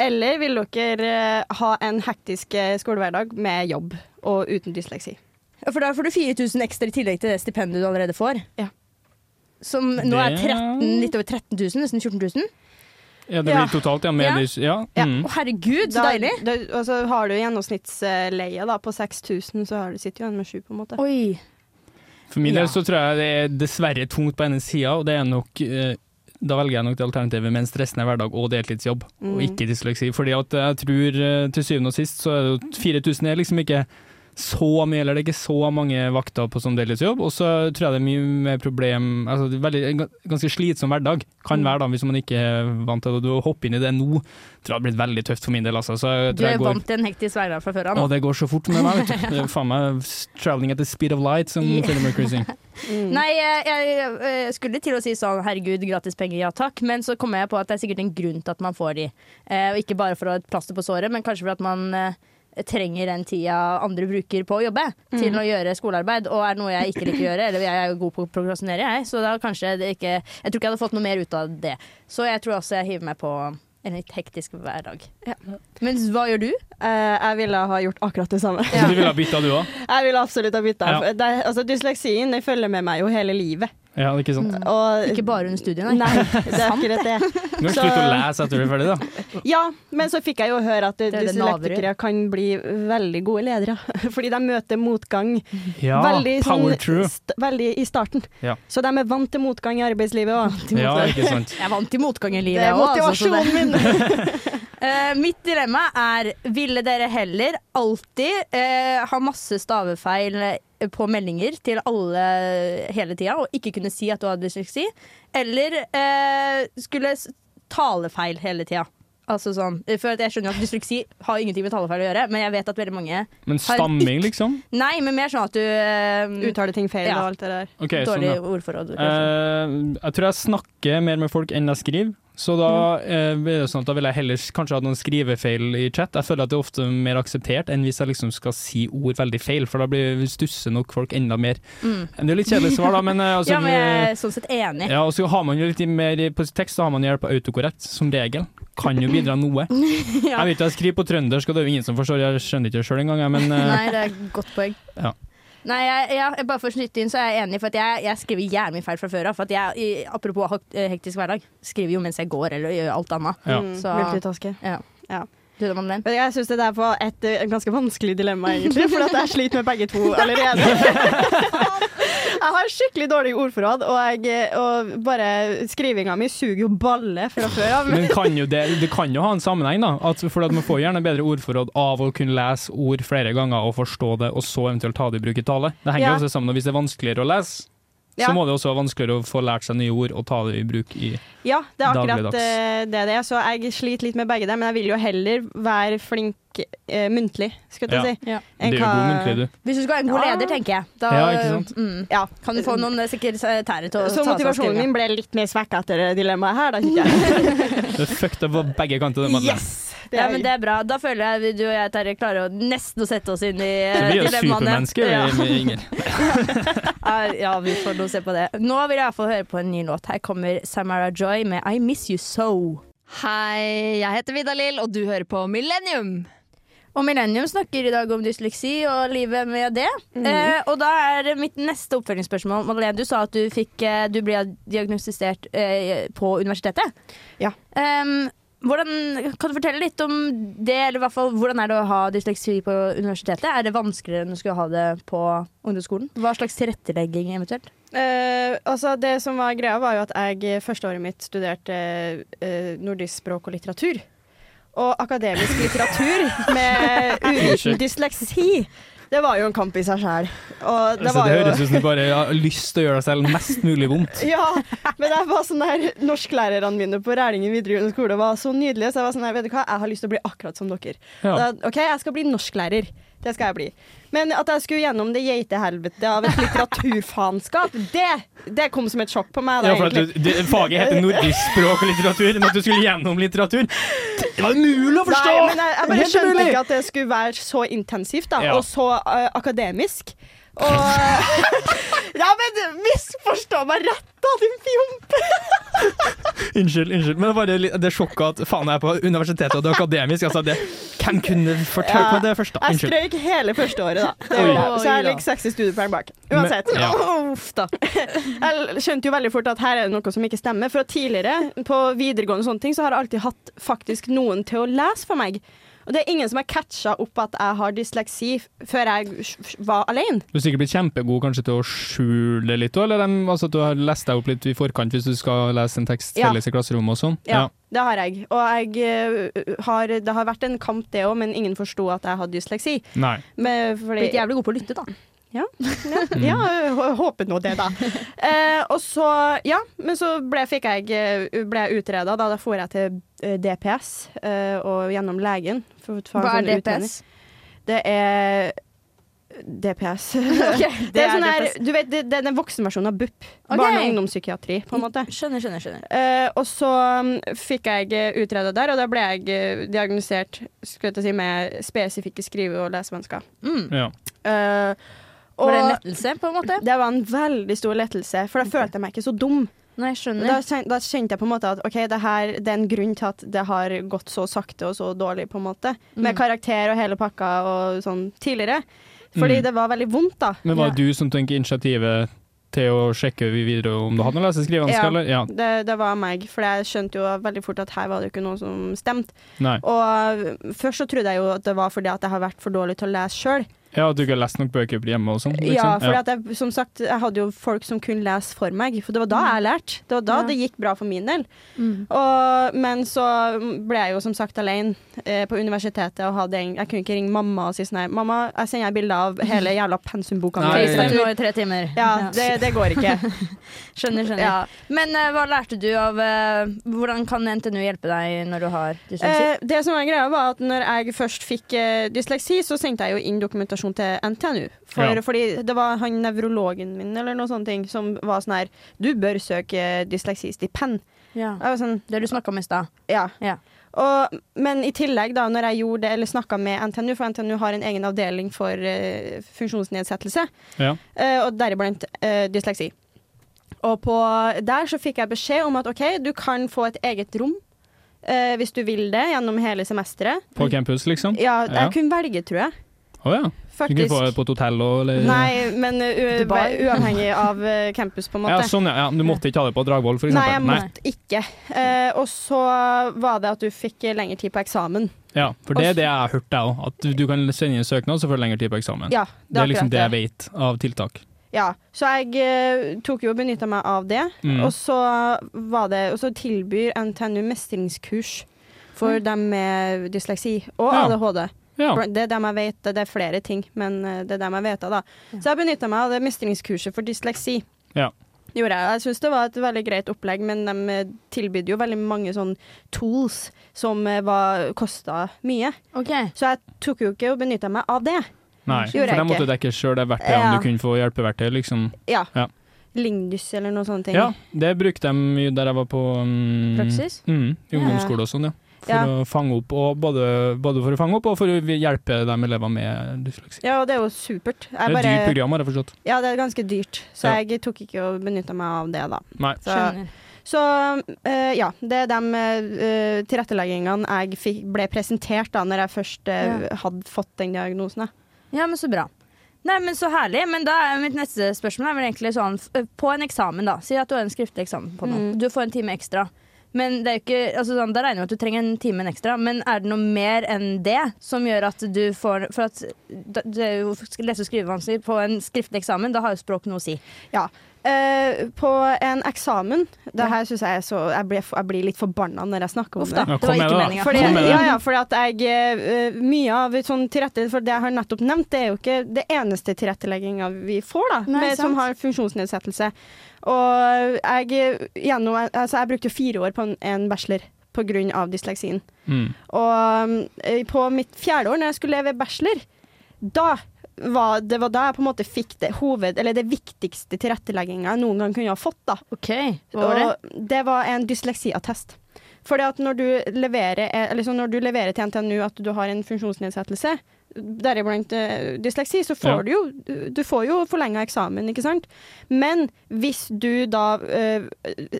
Speaker 5: eller vil dere eh, ha en hektisk eh, skolehverdag med jobb og uten dysleksi?
Speaker 4: Ja, For da får du 4000 ekstra i tillegg til det stipendet du allerede får.
Speaker 5: Ja.
Speaker 4: Som nå er
Speaker 2: Det-
Speaker 4: 13, litt over 13 000, nesten 14 000.
Speaker 2: Ja, det
Speaker 5: Ja.
Speaker 2: blir totalt, ja. Med
Speaker 4: Ja.
Speaker 2: dys- ja.
Speaker 5: Ja.
Speaker 2: Mm.
Speaker 4: Å herregud, så
Speaker 5: Da-
Speaker 4: deilig!
Speaker 5: Da, og så har du gjennomsnittsleie da, på 6000, så har du, sitter du igjen med 7 på en måte.
Speaker 4: Oi.
Speaker 2: For min del
Speaker 5: Ja.
Speaker 2: så tror jeg det er dessverre tungt på ene sida, og det er nok eh, da velger jeg nok det alternativet med en stressende hverdag og deltidsjobb,
Speaker 5: Mm.
Speaker 4: Mm.
Speaker 2: og ikke dysleksi. Fordi at jeg tror eh, til syvende og sist så er det jo 4000 er liksom ikke så mye, eller det er ikke så mange vakter på som deltidsjobb. Og så tror jeg det er mye mer problem altså det er veldig, En gans- ganske slitsom hverdag
Speaker 4: Mm.
Speaker 2: kan være da, hvis man ikke er vant til det. Og å hoppe inn i det nå tror jeg hadde blitt veldig tøft for min del. Altså. Så jeg
Speaker 4: Du
Speaker 2: tror
Speaker 4: er
Speaker 2: jeg går,
Speaker 4: vant til en hektisk hverdag fra før av.
Speaker 2: å,
Speaker 4: nå.
Speaker 2: det går så fort med meg, vet du. Det er faen meg s- 'traveling at the speed of light', som
Speaker 4: Ja.
Speaker 2: Freddie Mercury synger.
Speaker 5: Mm.
Speaker 4: Nei, jeg, jeg, jeg skulle til å si sånn herregud, gratis penger, ja takk. Men så kom jeg på at det er sikkert en grunn til at man får de. Eh, og ikke bare for å ha et plaster på såret, men kanskje for at man eh, trenger den tida andre bruker på å jobbe til å gjøre skolearbeid. Og er noe jeg ikke liker å gjøre, eller jeg er jo god på å prokrastinere, jeg. Så da kanskje det ikke Jeg tror ikke jeg hadde fått noe mer ut av det. Så jeg tror også jeg hiver meg på en litt hektisk hverdag. Men hva gjør du?
Speaker 5: Eh, jeg ville ha gjort akkurat det samme.
Speaker 2: Så du ville ha bytta, du òg?
Speaker 5: Jeg ville absolutt ha bytta.
Speaker 2: Ja.
Speaker 5: Det er- Altså, dysleksien den følger med meg jo hele livet.
Speaker 2: Ja, det er ikke
Speaker 4: Mm.
Speaker 2: sant.
Speaker 5: Og,
Speaker 4: Ikke bare under studiet, nei.
Speaker 5: Nei, det er akkurat det.
Speaker 2: Du kan slutte å lese etter du er ferdig, da.
Speaker 5: Ja, men så fikk jeg jo høre at
Speaker 4: er det naver
Speaker 5: dyslektikere
Speaker 4: gjør.
Speaker 5: kan bli veldig gode ledere. Fordi de møter motgang
Speaker 2: Ja,
Speaker 5: veldig,
Speaker 2: power
Speaker 5: sånn,
Speaker 2: true.
Speaker 5: st veldig i starten.
Speaker 2: Ja.
Speaker 5: Så de er vant til motgang i arbeidslivet òg.
Speaker 2: Ja, ikke sant.
Speaker 4: Jeg er vant til motgang i
Speaker 5: Det
Speaker 4: livet.
Speaker 5: er
Speaker 4: jeg også, altså, så det-
Speaker 5: motivasjonen min!
Speaker 4: Eh, mitt dilemma er Ville dere heller alltid eh, ha masse stavefeil eh, på meldinger til alle eh, hele tida og ikke kunne si at du hadde dysleksi, eller eh, skulle s- talefeil hele tida? Altså sånn, eh, for at jeg skjønner at Dysleksi har ingenting med talefeil å gjøre, men jeg vet at veldig mange
Speaker 2: Men stamming, liksom?
Speaker 4: Nei, men mer sånn at du eh,
Speaker 5: Uttaler ting feil
Speaker 4: Ja.
Speaker 5: og alt det der.
Speaker 2: Ok, sånn,
Speaker 4: Dårlig
Speaker 2: ja.
Speaker 4: ordforråd. kanskje.
Speaker 2: Eh, jeg tror jeg snakker mer med folk enn jeg skriver. Så da, eh,
Speaker 4: Mm.
Speaker 2: er det sånn at da vil jeg heller s- kanskje ha noen skrivefeil i chat. Jeg føler at det er ofte mer akseptert enn hvis jeg liksom skal si ord veldig feil, for da blir stusser nok folk enda mer. Det er litt kjedelig svar, da, men eh,
Speaker 4: Mm.
Speaker 2: altså,
Speaker 4: ja, men jeg er sånn sett enig.
Speaker 2: ja, og så har man jo litt mer i- På tekst så har man hjelp av autokorrekt, som regel. Kan jo bidra noe. Jeg vet jo jeg skriver på trøndersk, og det er jo ingen som forstår, jeg skjønner ikke det sjøl engang, jeg, men eh,
Speaker 4: Nei, det er et godt poeng.
Speaker 2: Ja.
Speaker 4: Nei, jeg, jeg, bare for å snytte inn, så er jeg enig, for at jeg, jeg skriver jævlig mye feil fra før av. For at jeg, i- apropos hak- eh, hektisk hverdag, skriver jo mens jeg går eller gjør alt annet.
Speaker 2: ja.
Speaker 5: Mm,
Speaker 4: Så-
Speaker 5: Multitaske.
Speaker 4: Du, da, Madeleine?
Speaker 5: Men jeg syns det der var et eh, ganske vanskelig dilemma, egentlig. For at jeg sliter med begge to allerede. Jeg har skikkelig dårlig ordforråd, og, jeg, eh, og bare skrivinga mi suger jo balle fra før av.
Speaker 2: Men kan jo det, det kan jo ha en sammenheng, da. At, for at man får gjerne bedre ordforråd av å kunne lese ord flere ganger og forstå det, og så eventuelt ta det i bruk i tale. Det henger jo
Speaker 5: Ja.
Speaker 2: også sammen. Og hvis det er vanskeligere å lese,
Speaker 5: Ja.
Speaker 2: så må det også være vanskeligere å få lært seg nye ord og ta det i bruk i
Speaker 5: Ja, det er akkurat
Speaker 2: Dagligdags.
Speaker 5: eh, det det er. Så jeg sliter litt med begge der, men jeg vil jo heller være flink eh, muntlig, skulle jeg
Speaker 2: Ja.
Speaker 5: til å si.
Speaker 4: Ja.
Speaker 5: enn
Speaker 2: Det er jo god
Speaker 5: hva-
Speaker 2: muntlig, du.
Speaker 4: Hvis du skal være en god
Speaker 5: Ja.
Speaker 4: leder, tenker jeg, da
Speaker 2: Ja, ikke sant?
Speaker 4: Mm,
Speaker 5: Ja.
Speaker 4: kan du få noen eh, sekretærer til å
Speaker 5: Så
Speaker 4: ta seg av skrivinga.
Speaker 5: motivasjonen min ble litt mer svekka etter det dilemmaet her, da, kjenner jeg.
Speaker 2: Det er fucked up på begge kanter. det, Madeleine.
Speaker 5: Det
Speaker 4: Ja,
Speaker 5: er-
Speaker 4: men det er bra. Da føler jeg du og jeg Terje klarer å nesten å sette oss inn i
Speaker 2: Så
Speaker 4: eh,
Speaker 2: vi er jo
Speaker 4: dilemmaene.
Speaker 2: supermennesker,
Speaker 4: Ja.
Speaker 2: vi, Inger.
Speaker 4: Er- Ja, vi får nå se på det. Nå vil jeg i hvert fall høre på en ny låt. Her kommer Samara Joy med I Miss You So.
Speaker 10: Hei, jeg heter Vidalil, og du hører på Millennium.
Speaker 4: Og Millennium snakker i dag om dysleksi og livet med det.
Speaker 10: Mhm.
Speaker 4: Eh, og da er mitt neste oppfølgingsspørsmål. Madeleine, du sa at du, fikk, eh, du ble diagnostisert eh, på universitetet.
Speaker 5: Ja.
Speaker 4: Em, Ehm, hvordan, kan du fortelle litt om det, eller i hvert fall hvordan er det å ha dysleksi på universitetet? Er det vanskeligere enn å skulle ha det på ungdomsskolen? Hva slags tilrettelegging eventuelt?
Speaker 5: Eh, altså det som var greia, var jo at jeg eh, første året mitt studerte eh, nordisk språk og litteratur. Og akademisk litteratur med uten
Speaker 2: Unnskyld.
Speaker 5: dysleksi, det var jo en kamp i seg sjæl. Og det
Speaker 2: Altså,
Speaker 5: var
Speaker 2: det
Speaker 5: jo
Speaker 2: høres ut som du bare har lyst til å gjøre deg selv mest mulig vondt.
Speaker 5: Ja, men jeg var sånn der norsklærerne mine på Rælingen videregående skole var så nydelige, så jeg var sånn der, vet du hva, jeg har lyst til å bli akkurat som dere.
Speaker 2: Ja.
Speaker 5: Da, OK, jeg skal bli norsklærer. Det skal jeg bli. Men at jeg skulle gjennom det geitehelvetet av et litteraturfaenskap, det, det kom som et sjokk på meg. Da,
Speaker 2: Ja, for at
Speaker 5: egentlig.
Speaker 2: du, det, faget heter nordisk språk og litteratur, men at du skulle gjennom litteratur Det var umulig å forstå!
Speaker 5: Nei, men jeg, jeg bare
Speaker 2: Helt
Speaker 5: skjønte
Speaker 2: umulig!
Speaker 5: ikke at det skulle være så intensivt, da,
Speaker 2: Ja.
Speaker 5: og så eh, akademisk. Og Ja, men misforstå meg rett, da, din fjomp!
Speaker 2: Unnskyld, unnskyld. Men det, var det, det sjokket at faen, jeg er på universitetet og det er akademisk. Altså, det, hvem kunne fortalt meg det først? da?
Speaker 5: Jeg
Speaker 2: Unnskyld.
Speaker 5: strøyk hele første året, da. Det
Speaker 2: Oi.
Speaker 5: gjorde jeg. så
Speaker 10: Oi
Speaker 5: jeg
Speaker 10: da.
Speaker 5: ligger 60 studiepoeng bak. Uansett.
Speaker 2: Men- ja.
Speaker 5: Uff da. Jeg skjønte jo veldig fort at her er det noe som ikke stemmer. For at tidligere, på videregående og sånne ting, så har jeg alltid hatt faktisk noen til å lese for meg. Og det er ingen som har catcha opp at jeg har dysleksi f- før jeg f- f- var alene.
Speaker 2: Du er sikkert blitt kjempegod kanskje til å skjule det litt, eller dem, altså, at du har lest deg opp litt i forkant hvis du skal lese en tekst
Speaker 5: Ja.
Speaker 2: felles i klasserommet og sånn.
Speaker 5: Ja, det har jeg. Og jeg eh, har, det har vært en kamp det òg, men ingen forsto at jeg hadde dysleksi.
Speaker 2: Nei.
Speaker 5: Men fordi,
Speaker 4: Blitt jævlig god på å lytte, da.
Speaker 5: Ja, jeg håper nå det, da. Eh, og så, ja, men så ble, fikk jeg, eh, ble jeg utreda. Da, da for jeg til eh, DPS eh, og gjennom legen. For, å ta en
Speaker 4: Hva er
Speaker 5: sånn
Speaker 4: DPS?
Speaker 5: utredning. Det er DPS. det,
Speaker 4: det er
Speaker 5: er sånn her,
Speaker 4: DPS.
Speaker 5: du vet, det, det er den voksenversjonen av BUP.
Speaker 4: Ok.
Speaker 5: Barne- og ungdomspsykiatri, på en måte.
Speaker 4: Skjønner, skjønner. skjønner.
Speaker 5: Eh, og så mm, fikk jeg utreda der, og da ble jeg eh, diagnosert skulle jeg til å si, med spesifikke skrive- og lesevansker.
Speaker 2: Ja.
Speaker 5: Eh, og-
Speaker 4: Var det en lettelse, på en måte?
Speaker 5: det var en veldig stor lettelse, for da følte jeg meg ikke så dum.
Speaker 4: Nei, jeg skjønner.
Speaker 5: Da, kjen- da kjente jeg på en måte at OK, det, her, det er en grunn til at det har gått så sakte og så dårlig, på en måte.
Speaker 4: Mm.
Speaker 5: Med karakter og hele pakka og sånn tidligere. Fordi
Speaker 2: Mm.
Speaker 5: det var veldig vondt, da.
Speaker 2: Men var det du som tok initiativet til å sjekke videre om du hadde noen leseskrivevansker,
Speaker 5: Ja.
Speaker 2: eller? Ja.
Speaker 5: Det, det var meg, for jeg skjønte jo veldig fort at her var det jo ikke noe som stemte.
Speaker 2: Nei.
Speaker 5: Og først så trodde jeg jo at det var fordi at jeg har vært for dårlig til å lese sjøl.
Speaker 2: Ja, at du ikke har lest nok bøker hjemme og sånn? Liksom.
Speaker 5: Ja, for jeg, som sagt, jeg hadde jo folk som kunne lese for meg, for det var da jeg lærte. Det var da det gikk bra for min del.
Speaker 4: mm.
Speaker 5: Og, men så ble jeg jo som sagt alene eh, på universitetet og hadde en, jeg kunne ikke ringe mamma og si sånn her Mamma, jeg sender deg bilde av hele jævla pensumboka
Speaker 2: Nei.
Speaker 5: mi.
Speaker 4: FaceTime nå i tre timer.
Speaker 5: Ja, det, det går ikke.
Speaker 4: Skjønner, skjønner.
Speaker 5: Ja.
Speaker 4: Men eh, hva lærte du av eh, Hvordan kan NTNU hjelpe deg når du har dysleksi?
Speaker 5: Eh, det som var greia var at når jeg først fikk eh, dysleksi, så sendte jeg jo inn dokumentasjon til NTNU. For,
Speaker 2: Ja.
Speaker 5: Fordi det var han nevrologen min eller noe sånt ting, som var sånn her Du bør søke eh, dysleksistipend.
Speaker 4: ja.
Speaker 5: Jeg var sånn,
Speaker 4: Det du snakka om i stad.
Speaker 5: ja.
Speaker 4: Ja.
Speaker 5: Og, men i tillegg, da, når jeg gjorde det, eller snakka med NTNU, for NTNU har en egen avdeling for eh, funksjonsnedsettelse,
Speaker 2: Ja.
Speaker 5: eh, og deriblant eh, dysleksi. Og på, der så fikk jeg beskjed om at OK, du kan få et eget rom eh, hvis du vil det, gjennom hele semesteret.
Speaker 2: På campus, liksom? Å ja.
Speaker 5: Ja, jeg kunne velge, tror jeg.
Speaker 2: Du kunne
Speaker 5: Faktisk.
Speaker 2: få det på et hotell og eller
Speaker 5: Nei, men u
Speaker 7: Dubai.
Speaker 5: uavhengig av eh, campus, på en måte.
Speaker 2: Ja, sånn, ja. ja. Du måtte ikke ha det på Dragvoll, for
Speaker 5: Nei, jeg
Speaker 2: eksempel?
Speaker 5: måtte ikke. Eh, og så var det at du fikk lengre tid på eksamen.
Speaker 2: Ja, for det er det jeg har hørt, jeg òg. At du- du kan sende inn søknad, så får du lengre tid på eksamen.
Speaker 5: Ja,
Speaker 2: det, er liksom
Speaker 5: akkurat
Speaker 2: det jeg vet av tiltak.
Speaker 5: Ja, så jeg eh, tok jo og benytta meg av det.
Speaker 2: Mm.
Speaker 5: Og så var det Og så tilbyr NTNU mestringskurs for dem med dysleksi og
Speaker 2: Ja.
Speaker 5: ADHD.
Speaker 2: Ja.
Speaker 5: For Det er dem jeg vet, det er flere ting, men eh, det er dem jeg vet av, da. Så jeg benytta meg av det mestringskurset for dysleksi.
Speaker 2: Ja.
Speaker 5: Gjorde jeg. Jeg syns det var et veldig greit opplegg, men de eh, tilbød jo veldig mange sånn tools som eh, var- kosta mye.
Speaker 4: Ok.
Speaker 5: Så jeg tok jo ikke og benytta meg av det.
Speaker 2: Nei,
Speaker 5: Gjorde
Speaker 2: for
Speaker 5: jeg
Speaker 2: da måtte
Speaker 5: ikke.
Speaker 2: du dekke sjøl det verktøyet, om
Speaker 5: Ja.
Speaker 2: du kunne få hjelpeverktøy, liksom.
Speaker 5: Ja.
Speaker 2: Ja.
Speaker 5: Lingdys eller noe sånt. ting.
Speaker 2: Ja, det brukte de mye der jeg var på mm,
Speaker 4: Praksis?
Speaker 2: Mm, i ungdomsskole og sånn, ja. For
Speaker 5: Ja.
Speaker 2: å fange opp, og både, både for å fange opp og for å hjelpe de elevene med dysleksi.
Speaker 5: Ja, og det er jo supert. Jeg
Speaker 2: Det er et
Speaker 5: bare-
Speaker 2: dyrt program, har jeg forstått.
Speaker 5: Ja, det er ganske dyrt, så
Speaker 2: Ja.
Speaker 5: jeg tok ikke og benytta meg av det, da.
Speaker 2: Nei.
Speaker 5: Så,
Speaker 4: Skjønner.
Speaker 5: så eh, ja, det er de eh, tilretteleggingene jeg fikk, ble presentert da når jeg først eh, hadde fått den diagnosen. da.
Speaker 4: Ja, men så bra. Nei, men Så herlig. Men da er mitt neste spørsmål er vel egentlig sånn f- På en eksamen, da. Si at du har en skriftlig eksamen på nå.
Speaker 5: Mm.
Speaker 4: Du får en time ekstra. Men det er jo ikke, altså sånn, Da regner jeg med at du trenger en time ekstra, men er det noe mer enn det som gjør at du får For at da- det er jo lese- og skrivevansker på en skriftlig eksamen, da har jo språk noe å si.
Speaker 5: Ja. Eh, på en eksamen Det her syns jeg er så Jeg blir, jeg blir litt forbanna når jeg snakker om
Speaker 4: Uff
Speaker 5: det.
Speaker 4: da.
Speaker 2: Ja,
Speaker 4: Det
Speaker 2: kom
Speaker 4: var
Speaker 2: med
Speaker 4: ikke
Speaker 2: det, da.
Speaker 4: meninga.
Speaker 5: Fordi,
Speaker 2: Kom med det.
Speaker 5: ja, ja, fordi at jeg eh, Mye av sånn tilrette, for det jeg har nettopp nevnt, det er jo ikke det eneste tilrettelegginga vi får, da,
Speaker 4: Nei,
Speaker 5: med, som
Speaker 4: sant.
Speaker 5: har funksjonsnedsettelse. Og jeg, eh, gjennom, altså, jeg brukte jo fire år på en, en bachelor pga. dysleksien.
Speaker 2: Mm.
Speaker 5: Og eh, på mitt fjerde år, når jeg skulle leve bachelor, da var, det var da jeg på en måte fikk det, hoved, eller det viktigste tilrettelegginga jeg noen gang kunne ha fått. da.
Speaker 4: OK, hva var det?
Speaker 5: Og det var en dysleksiattest. Fordi at når du leverer, eh, eller så når du leverer til NTNU at du har en funksjonsnedsettelse, deriblant eh, dysleksi, så
Speaker 2: Ja.
Speaker 5: får du jo, du får jo forlenga eksamen, ikke sant. Men hvis du da eh,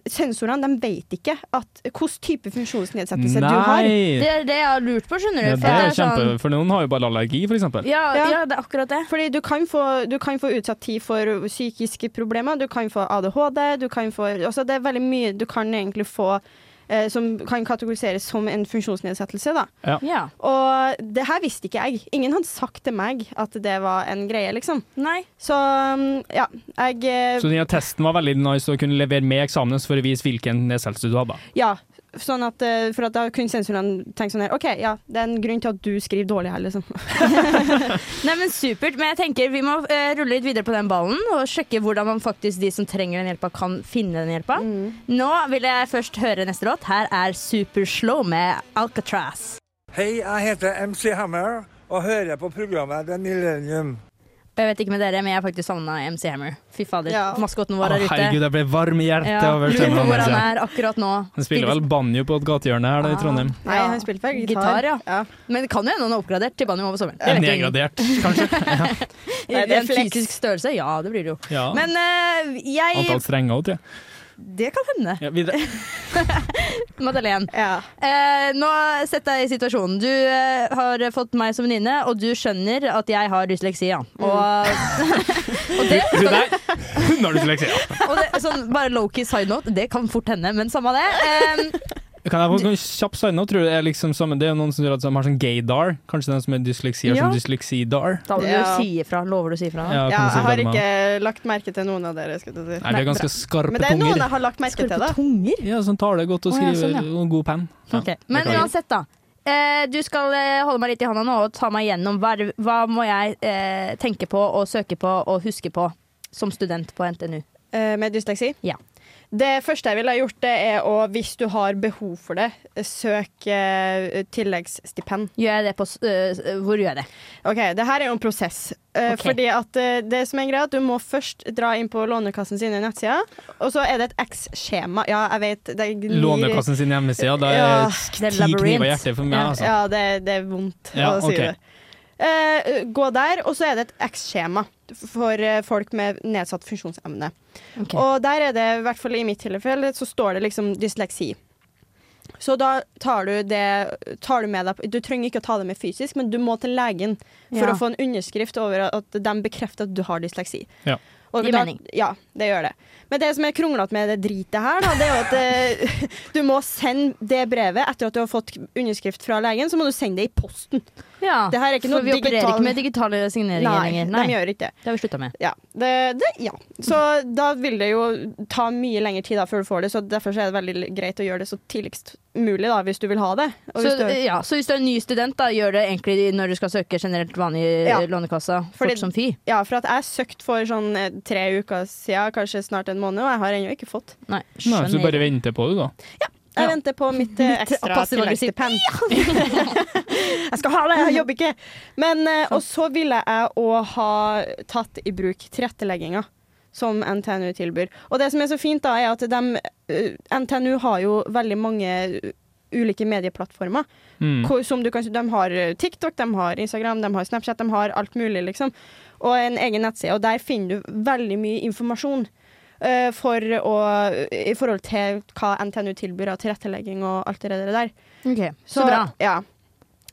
Speaker 5: Sensorene de vet ikke at hvilken type funksjonsnedsettelse du har.
Speaker 4: Det er det jeg har lurt på, skjønner du.
Speaker 2: Ja,
Speaker 4: for
Speaker 2: det
Speaker 4: jeg
Speaker 2: er
Speaker 4: er sånn-
Speaker 2: kjempe, for noen har jo bare allergi, for eksempel.
Speaker 4: ja,
Speaker 5: Ja.
Speaker 4: ja, det er akkurat det.
Speaker 5: Fordi du kan, få, du kan få utsatt tid for psykiske problemer, du kan få ADHD, du kan få Altså det er veldig mye du kan egentlig få eh, som kan kategoriseres som en funksjonsnedsettelse. Da.
Speaker 2: Ja.
Speaker 4: Ja.
Speaker 5: Og det her visste ikke jeg. Ingen hadde sagt til meg at det var en greie, liksom.
Speaker 4: Nei.
Speaker 5: Så mm, ja, jeg eh,
Speaker 2: Så denne testen var veldig nice å kunne levere med eksamen for å vise hvilken nedsettelse du hadde.
Speaker 5: Ja, sånn at, eh, for at da kunne sensorene tenke sånn her OK, ja, det er en grunn til at du skriver dårlig her, liksom.
Speaker 4: Nei, men Supert. Men jeg tenker vi må eh, rulle litt videre på den ballen og sjekke hvordan man faktisk de som trenger den hjelpa, kan finne den hjelpa. Nå vil jeg først høre neste låt. Her er Superslow med Alcatraz.
Speaker 11: Hei, jeg heter MC Hammer og hører på programmet The Millennium.
Speaker 4: Og Jeg vet ikke med dere, men jeg har faktisk savna MC Hammer. Fy fader,
Speaker 5: Ja.
Speaker 4: maskoten vår er ute.
Speaker 2: herregud, jeg ble varm i hjertet
Speaker 4: Ja,
Speaker 2: over altså.
Speaker 4: Lurer på
Speaker 2: stemmen
Speaker 4: hvor han
Speaker 2: hans.
Speaker 4: er akkurat nå.
Speaker 2: Han spiller vel banjo på et gatehjørne her
Speaker 4: Ah.
Speaker 2: da, i Trondheim.
Speaker 5: Nei, han spilte vel gitar.
Speaker 4: Gitar, ja.
Speaker 5: Ja.
Speaker 4: Men det kan jo hende han er oppgradert til banjo over sommeren. Det vet jeg ikke.
Speaker 2: Nedgradert, kanskje.
Speaker 5: Nei,
Speaker 4: I
Speaker 5: det er
Speaker 4: en
Speaker 5: flex.
Speaker 4: fysisk størrelse, ja, det blir det jo.
Speaker 2: Ja.
Speaker 4: Men eh, jeg
Speaker 2: Antall strenger òg, tror jeg.
Speaker 4: Det kan hende.
Speaker 2: Ja, videre.
Speaker 4: Madeleine.
Speaker 5: Ja.
Speaker 4: Eh, nå setter jeg i situasjonen. Du eh, har fått meg som venninne, og du skjønner at jeg har dysleksi, ja. Og, og det,
Speaker 2: Hun der, hun har dysleksi. ja.
Speaker 4: og det sånn, bare low-key side note, det kan fort hende, men samme det. Eh,
Speaker 2: Kan jeg få en kjapp side note? Tror du det er liksom samme Det er jo noen som tror at de har sånn gaydar. Kanskje den som er dysleksi, har sånn
Speaker 4: Ja.
Speaker 2: dysleksidar.
Speaker 4: da må du
Speaker 5: Ja.
Speaker 4: si ifra. Lover du å si ifra?
Speaker 2: Ja, kan
Speaker 5: ja,
Speaker 2: du si
Speaker 5: jeg har
Speaker 2: det med-
Speaker 5: ikke lagt merke til noen av dere, skulle jeg
Speaker 2: Nei,
Speaker 5: si.
Speaker 2: det er ganske skarpe
Speaker 5: Men det er noen
Speaker 2: tunger.
Speaker 5: jeg har lagt merke til, da.
Speaker 4: tunger?
Speaker 2: Ja, som tar det godt og
Speaker 4: Å, ja,
Speaker 2: skriver
Speaker 4: sånn,
Speaker 2: og god penn. Ja.
Speaker 4: Ok, Men
Speaker 2: Beklager.
Speaker 4: uansett, da. Eh, du skal eh, holde meg litt i hånda nå og ta meg gjennom hva, hva må jeg eh, tenke på og søke på og huske på som student på NTNU.
Speaker 5: Eh, Med dysleksi?
Speaker 4: Ja.
Speaker 5: Det første jeg ville ha gjort, det er å, hvis du har behov for det, søk eh, tilleggsstipend.
Speaker 4: Gjør jeg det på s- eh, Hvor gjør jeg det?
Speaker 5: OK, det her er jo en prosess. Eh,
Speaker 4: Ok.
Speaker 5: Fordi at eh, det som er greia, er at du må først dra inn på Lånekassen sine nettsider, og så er det et X-skjema. Ja, jeg vet det gnir-
Speaker 2: Lånekassen sin hjemmeside, da
Speaker 5: Ja,
Speaker 4: det er
Speaker 2: er ti kniver i
Speaker 4: labyrint.
Speaker 2: hjertet for meg, altså.
Speaker 5: Ja, det, det er vondt
Speaker 2: Ja,
Speaker 5: å si
Speaker 2: ok.
Speaker 5: det. Eh, gå der, og så er det et X-skjema for eh, folk med nedsatt funksjonsevne.
Speaker 4: Ok.
Speaker 5: Og der er det, i hvert fall i mitt tilfelle, så står det liksom dysleksi. Så da tar du det tar du med deg Du trenger ikke å ta det med fysisk, men du må til legen for
Speaker 4: Ja.
Speaker 5: å få en underskrift over at de bekrefter at du har dysleksi.
Speaker 2: Ja.
Speaker 5: Og
Speaker 4: Gir
Speaker 5: da-
Speaker 4: mening.
Speaker 5: Ja, det gjør det. Men det som er kronglete med det dritet her, da, det er jo at eh, du må sende det brevet etter at du har fått underskrift fra legen, så må du sende det i posten.
Speaker 4: Ja,
Speaker 5: Det her er ikke
Speaker 4: For
Speaker 5: noe
Speaker 4: vi opererer
Speaker 5: digital-
Speaker 4: ikke med digitale signeringer lenger. Nei,
Speaker 5: de gjør ikke det.
Speaker 4: Det har vi slutta med.
Speaker 5: Ja. Det, det, ja. Så da vil det jo ta mye lengre tid da før du får det, så derfor så er det veldig greit å gjøre det så tidligst mulig da, hvis du vil ha det. Og
Speaker 4: Så, eh,
Speaker 5: hvis du,
Speaker 4: ja, så hvis du er en ny student, da, gjør det egentlig når du skal søke generelt vanlig
Speaker 5: Ja.
Speaker 4: eh, lånekassa.
Speaker 5: Fordi-
Speaker 4: Fort som fy.
Speaker 5: ja, for at jeg søkte for sånn eh, tre uker siden, kanskje snart en måned, og jeg har ennå ikke fått.
Speaker 4: Nei,
Speaker 2: Nei,
Speaker 4: skjønner
Speaker 2: så du bare
Speaker 4: jeg.
Speaker 2: venter på det, da.
Speaker 5: Jeg
Speaker 4: Ja.
Speaker 5: venter på mitt eh,
Speaker 4: Mitt
Speaker 5: ekstra
Speaker 4: passive aggressive.
Speaker 5: tilleggsstipend. jeg skal ha det, jeg jobber ikke! Men, eh, og så ville jeg òg ha tatt i bruk tilrettelegginga som NTNU tilbyr. Og det som er så fint, da, er at dem, eh, NTNU har jo veldig mange eh, ulike medieplattformer.
Speaker 2: Mm.
Speaker 5: Hvor, som du kan, de har eh, TikTok, de har Instagram, de har Snapchat, de har alt mulig, liksom. Og en egen nettside. Og der finner du veldig mye informasjon eh, for å, i forhold til hva NTNU tilbyr av tilrettelegging og alt det der.
Speaker 4: Ok, Så bra.
Speaker 5: Ja.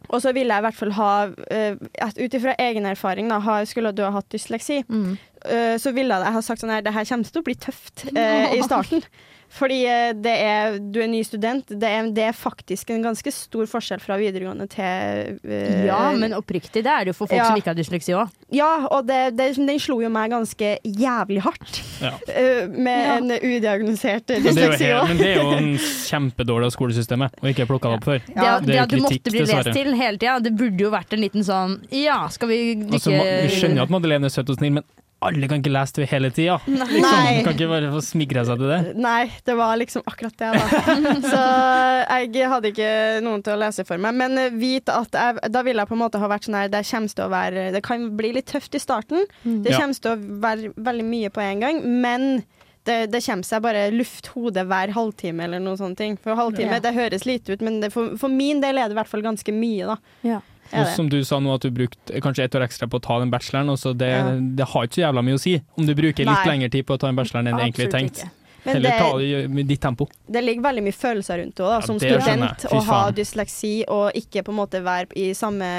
Speaker 5: Og så ville jeg i hvert fall ha uh, Ut ifra egen erfaring, da, ha, skulle du ha hatt dysleksi,
Speaker 4: Mm.
Speaker 5: eh, så ville jeg ha sagt sånn her Det her kommer til å bli tøft eh, i starten. Fordi eh, det er, du er ny student. Det er, det er faktisk en ganske stor forskjell fra videregående til eh,
Speaker 4: Ja, men oppriktig, det er det jo for folk
Speaker 5: Ja.
Speaker 4: som ikke har dysleksi òg.
Speaker 5: Ja, og det, det, den slo jo meg ganske jævlig hardt.
Speaker 2: Ja.
Speaker 5: eh, med en udiagnosert
Speaker 2: Men det, er jo
Speaker 5: dysleksi
Speaker 2: helt,
Speaker 5: òg.
Speaker 2: men det er jo en kjempedårlig av skolesystemet å ikke plukke det opp før.
Speaker 4: Det, at-
Speaker 2: Det er
Speaker 4: det
Speaker 2: jo
Speaker 4: at du
Speaker 2: kritikk,
Speaker 4: måtte bli lest
Speaker 2: dessverre.
Speaker 4: til hele tida, det burde jo vært en liten sånn Ja, skal vi
Speaker 2: Altså,
Speaker 4: dykke
Speaker 2: ma- vi skjønner jo at Madeleine er søt og snill, men alle kan ikke lese det hele tida.
Speaker 5: Nei.
Speaker 2: Hun kan ikke bare få smigre seg til det.
Speaker 5: Nei, det var liksom akkurat det, da. Så jeg hadde ikke noen til å lese for meg. Men eh, vit at jeg, da ville jeg på en måte ha vært sånn her Det kommer til å være Det kan bli litt tøft i starten.
Speaker 4: Mm.
Speaker 5: Det
Speaker 2: Ja.
Speaker 5: kommer til å være veldig mye på en gang, men det, det kommer seg bare luft hodet hver halvtime eller noen sånne ting. For halvtime,
Speaker 4: Ja.
Speaker 5: det høres lite ut, men det, for, for min del er det i hvert fall ganske mye, da.
Speaker 4: Ja.
Speaker 2: Og
Speaker 5: Er det.
Speaker 2: som du sa nå, at du brukte kanskje ett år ekstra på å ta den bacheloren, og så det,
Speaker 5: Ja.
Speaker 2: det har ikke så jævla mye å si om du bruker litt
Speaker 5: Nei.
Speaker 2: lengre tid på å ta den bacheloren enn egentlig
Speaker 4: Absolutt
Speaker 2: tenkt.
Speaker 4: ikke.
Speaker 5: Men
Speaker 2: Heller
Speaker 5: det-
Speaker 2: ta det i- med ditt tempo.
Speaker 5: Det ligger veldig mye følelser rundt det også, da, som
Speaker 2: det skjønner
Speaker 5: student.
Speaker 2: jeg. Fy
Speaker 5: Å ha
Speaker 2: faen.
Speaker 5: dysleksi og ikke på en måte være i samme,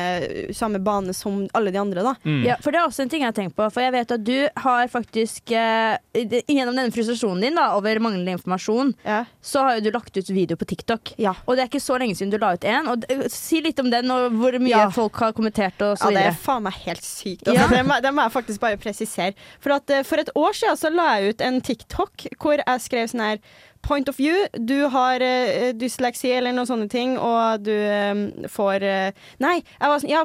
Speaker 5: samme bane som alle de andre. Da.
Speaker 2: Mm.
Speaker 4: Ja, for Det er også en ting jeg har tenkt på. For jeg vet at du har faktisk eh, det- Gjennom denne frustrasjonen din da, over manglende informasjon, så har jo du lagt ut video på TikTok. Og det er ikke så lenge siden du la ut en. Og, d- si litt om den, og hvor mye
Speaker 5: Ja.
Speaker 4: folk har kommentert og så
Speaker 5: Ja, det
Speaker 4: videre.
Speaker 5: er faen meg helt sykt.
Speaker 4: Ja.
Speaker 5: Altså, det, må, det må jeg faktisk bare presisere. For, at, eh, for et år siden så la jeg ut en TikTok hvor jeg skrev sånn her Point of view, du har eh, dysleksi eller noen sånne ting, og du eh, får eh, Nei, jeg var sånn Ja,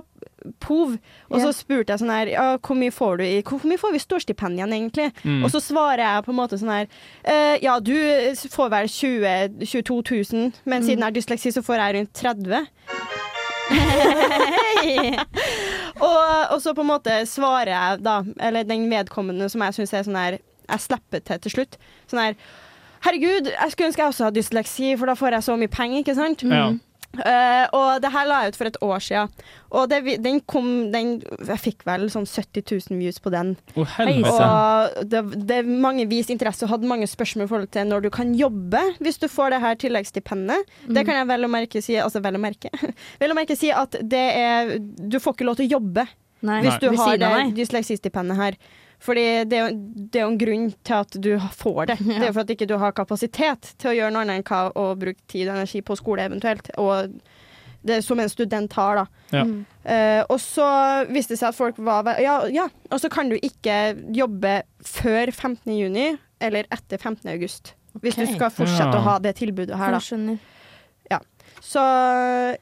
Speaker 5: POV. Og så spurte jeg sånn her ja, Hvor mye får du i Hvor mye får vi i storstipend igjen, egentlig?
Speaker 12: Mm.
Speaker 5: Og så svarer jeg på en måte sånn her eh, Ja, du får vel 20, 22 000, men
Speaker 4: Mm.
Speaker 5: siden jeg har dysleksi, så får jeg rundt 30 og, og så på en måte svarer jeg da, eller den vedkommende som jeg syns er sånn her Jeg slipper til til slutt. Sånn her Herregud, jeg skulle ønske jeg også hadde dysleksi, for da får jeg så mye penger, ikke sant?
Speaker 2: Mm.
Speaker 12: Ja.
Speaker 5: Eh, og det her la jeg ut for et år siden. Og det, vi- den kom den, Jeg fikk vel sånn 70 000 views på den.
Speaker 2: Å, helvete.
Speaker 5: Og det, det mange viste interesse og hadde mange spørsmål i forhold til når du kan jobbe hvis du får det her tilleggsstipendet.
Speaker 4: Mm.
Speaker 5: Det kan jeg vel og merke si, altså vel og merke, vel og merke si at det er Du får ikke lov til å jobbe
Speaker 4: Nei.
Speaker 5: hvis du
Speaker 4: Ved
Speaker 5: har
Speaker 4: siden
Speaker 5: det
Speaker 4: av,
Speaker 5: dysleksistipendet her. Fordi det er, jo, det er jo en grunn til at du får det. Det er jo for at ikke du har kapasitet til å gjøre noe annet enn hva å bruke tid og energi på skole eventuelt, og det som en student har, da.
Speaker 2: Ja.
Speaker 5: Eh, og så viste det seg at folk var ve- Ja, ja. og så kan du ikke jobbe før 15. juni eller etter 15. august. Hvis du
Speaker 4: Ok.
Speaker 5: skal fortsette
Speaker 4: Ja.
Speaker 5: å ha det tilbudet her, da.
Speaker 4: Jeg skjønner.
Speaker 5: Ja. Så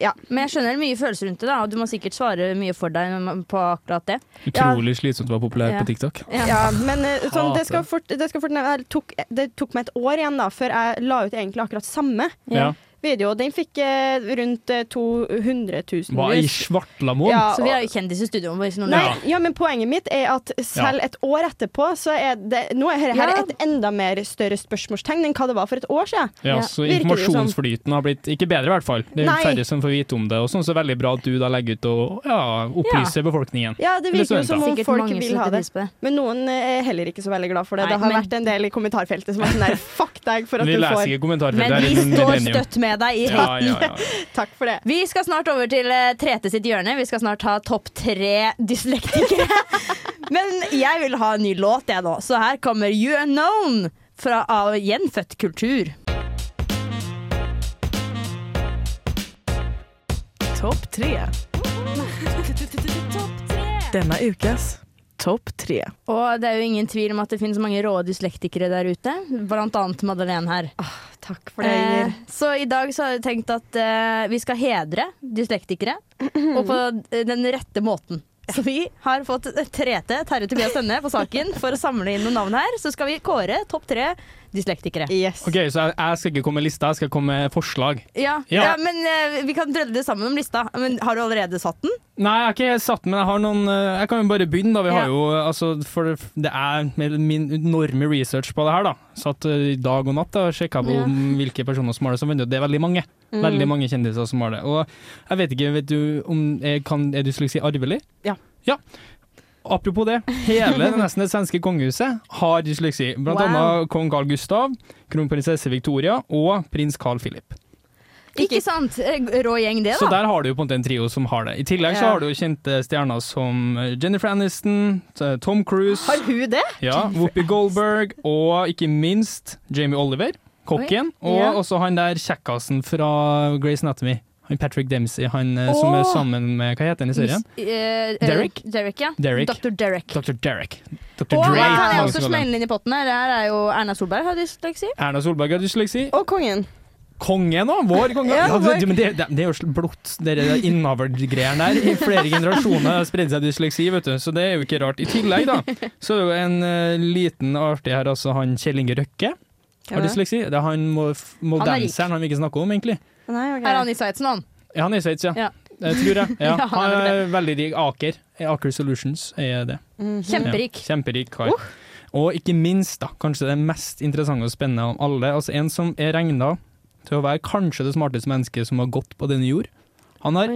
Speaker 5: ja.
Speaker 4: Men jeg skjønner mye følelser rundt det, da, og du må sikkert svare mye for deg om- på akkurat det.
Speaker 2: Utrolig slitsomt å være populær
Speaker 4: Ja.
Speaker 2: på TikTok.
Speaker 5: Ja, men eh, sånn, det, skal fort, det skal fort det tok, det tok meg et år igjen da før jeg la ut egentlig akkurat samme
Speaker 2: Ja.
Speaker 5: video. Den fikk eh, rundt eh, 200 000
Speaker 2: Hva i
Speaker 5: views.
Speaker 2: svartlamål?
Speaker 5: Ja, Så vi er
Speaker 4: jo kjendiser i studioet vår.
Speaker 5: Nei, ja, men poenget mitt er at selv
Speaker 2: Ja.
Speaker 5: et år etterpå, så er det Nå er dette
Speaker 4: Ja.
Speaker 5: et enda mer større spørsmålstegn enn hva det var for et år siden.
Speaker 2: Ja, så
Speaker 5: Virker det jo som.
Speaker 2: informasjonsflyten har blitt ikke bedre, i hvert fall. Det er
Speaker 5: Nei.
Speaker 2: færre som får vite om det, og sånn, så veldig bra at du da legger ut og ja, opplyser befolkningen.
Speaker 5: Ja, det
Speaker 2: Eller
Speaker 5: virker jo
Speaker 2: studenter.
Speaker 5: som om
Speaker 4: Sikkert
Speaker 5: folk
Speaker 4: mange
Speaker 5: vil
Speaker 4: setter
Speaker 5: ha det.
Speaker 4: pris på det.
Speaker 5: Men noen er heller ikke så veldig glad for det.
Speaker 4: Nei,
Speaker 5: det har
Speaker 4: men-
Speaker 5: vært en del i kommentarfeltet som er sånn der fuck deg for at
Speaker 2: Vi
Speaker 5: du
Speaker 2: leser
Speaker 5: får
Speaker 2: ikke kommentarfeltet,
Speaker 4: Men
Speaker 2: det er
Speaker 4: vi
Speaker 2: en
Speaker 4: står
Speaker 2: millennium.
Speaker 4: støtt med deg i
Speaker 2: Ja,
Speaker 4: hatten.
Speaker 2: ja, ja, ja.
Speaker 5: Takk for det.
Speaker 4: Vi skal snart over til eh, Trete sitt hjørne. Vi skal snart ha topp tre dyslektikere. Men jeg vil ha en ny låt, jeg nå. Så her kommer You Unknown fra, av Gjenfødt kultur.
Speaker 7: Topp tre. Denne ukas topp tre.
Speaker 4: Og det er jo ingen tvil om at det finnes mange rå dyslektikere der ute, blant annet Madeleine her. Eh,
Speaker 5: takk for det, Inger.
Speaker 4: så i dag så har vi tenkt at eh, vi skal hedre dyslektikere, og på eh, den rette måten. Så vi har fått Trete, Terje Tobias Tønne, på saken for å samle inn noen navn her. Så skal vi kåre topp tre dyslektikere.
Speaker 2: Ok, Så jeg, jeg skal ikke komme med lista, jeg skal komme med forslag.
Speaker 4: Ja, ja.
Speaker 2: Ja.
Speaker 4: men eh, vi kan drølle det sammen om lista. Men har du allerede satt den?
Speaker 2: Nei, jeg har ikke helt satt, men jeg har noen eh, Jeg kan jo bare begynne, da. Vi
Speaker 4: Ja.
Speaker 2: har jo eh, altså For det- det er med min enorme research på det her, da. Satt eh, i dag og natt da, og sjekka på
Speaker 13: Ja.
Speaker 2: om hvilke personer som har det som venner. Det er veldig mange.
Speaker 13: Mm.
Speaker 2: Veldig mange kjendiser som har det. Og jeg vet ikke, vet du om jeg kan, Er dysleksi arvelig?
Speaker 5: Ja.
Speaker 2: ja. Apropos det, hele det nesten det svenske kongehuset har dysleksi. Blant
Speaker 4: Wow.
Speaker 2: annet kong Carl Gustav, kronprinsesse Victoria og prins Carl Philip.
Speaker 4: Ikke sant? Eh, Rå gjeng, det, da.
Speaker 2: Så der har du jo på en måte en trio som har det. I tillegg så
Speaker 4: Ja.
Speaker 2: har du jo kjente stjerner som eh, Jennifer Aniston, eh, Tom Cruise
Speaker 5: Har hun det?
Speaker 2: Ja, Whoopi Goldberg og ikke minst Jamie Oliver, kokken.
Speaker 4: Oi. Ja.
Speaker 2: Og også han der kjekkasen fra Grey's Anatomy. Han Patrick Dempsey, han eh, som er
Speaker 4: Åh.
Speaker 2: sammen med Hva heter han i serien?
Speaker 4: Eh, eh,
Speaker 2: Derek?
Speaker 4: Derek, ja.
Speaker 2: Derek.
Speaker 4: Dr. Derek.
Speaker 2: Dr. Derek. Dr.
Speaker 4: Og her kan
Speaker 2: Dre,
Speaker 4: jeg
Speaker 2: mange
Speaker 4: også
Speaker 2: som kaller han.
Speaker 4: smelle inn i potten her. Det her er jo Erna Solberg har dysleksi.
Speaker 2: Erna Solberg har dysleksi.
Speaker 5: Og kongen.
Speaker 2: Kongen òg! Vår konge.
Speaker 4: Ja,
Speaker 2: Ja,
Speaker 4: vår-
Speaker 2: det, men det, det, det er jo sl- blått, det der innavlgreiene der. I flere generasjoner har spredd seg dysleksi, vet du, så det er jo ikke rart. I tillegg, da, så er det jo en eh, liten artig her, altså han Kjell Inge Røkke
Speaker 4: Ja.
Speaker 2: har dysleksi. Det er han mo- f-
Speaker 4: Han er rik.
Speaker 2: modenseren han vi ikke snakker om, egentlig.
Speaker 4: Er han i Sveitsen, han?
Speaker 2: Ja, han er i Sveits, ja.
Speaker 4: Ja.
Speaker 2: Det tror jeg. Ja.
Speaker 4: Ja, han
Speaker 2: han
Speaker 4: er
Speaker 2: er veldig rik. Aker. Aker Solutions er det.
Speaker 4: Mhm. Kjemperik.
Speaker 2: Ja, kjemperik kar. Og ikke minst, da, kanskje det mest interessante og spennende av alle, altså en som er regna til å være kanskje det smarteste mennesket som har gått på denne jord. Han har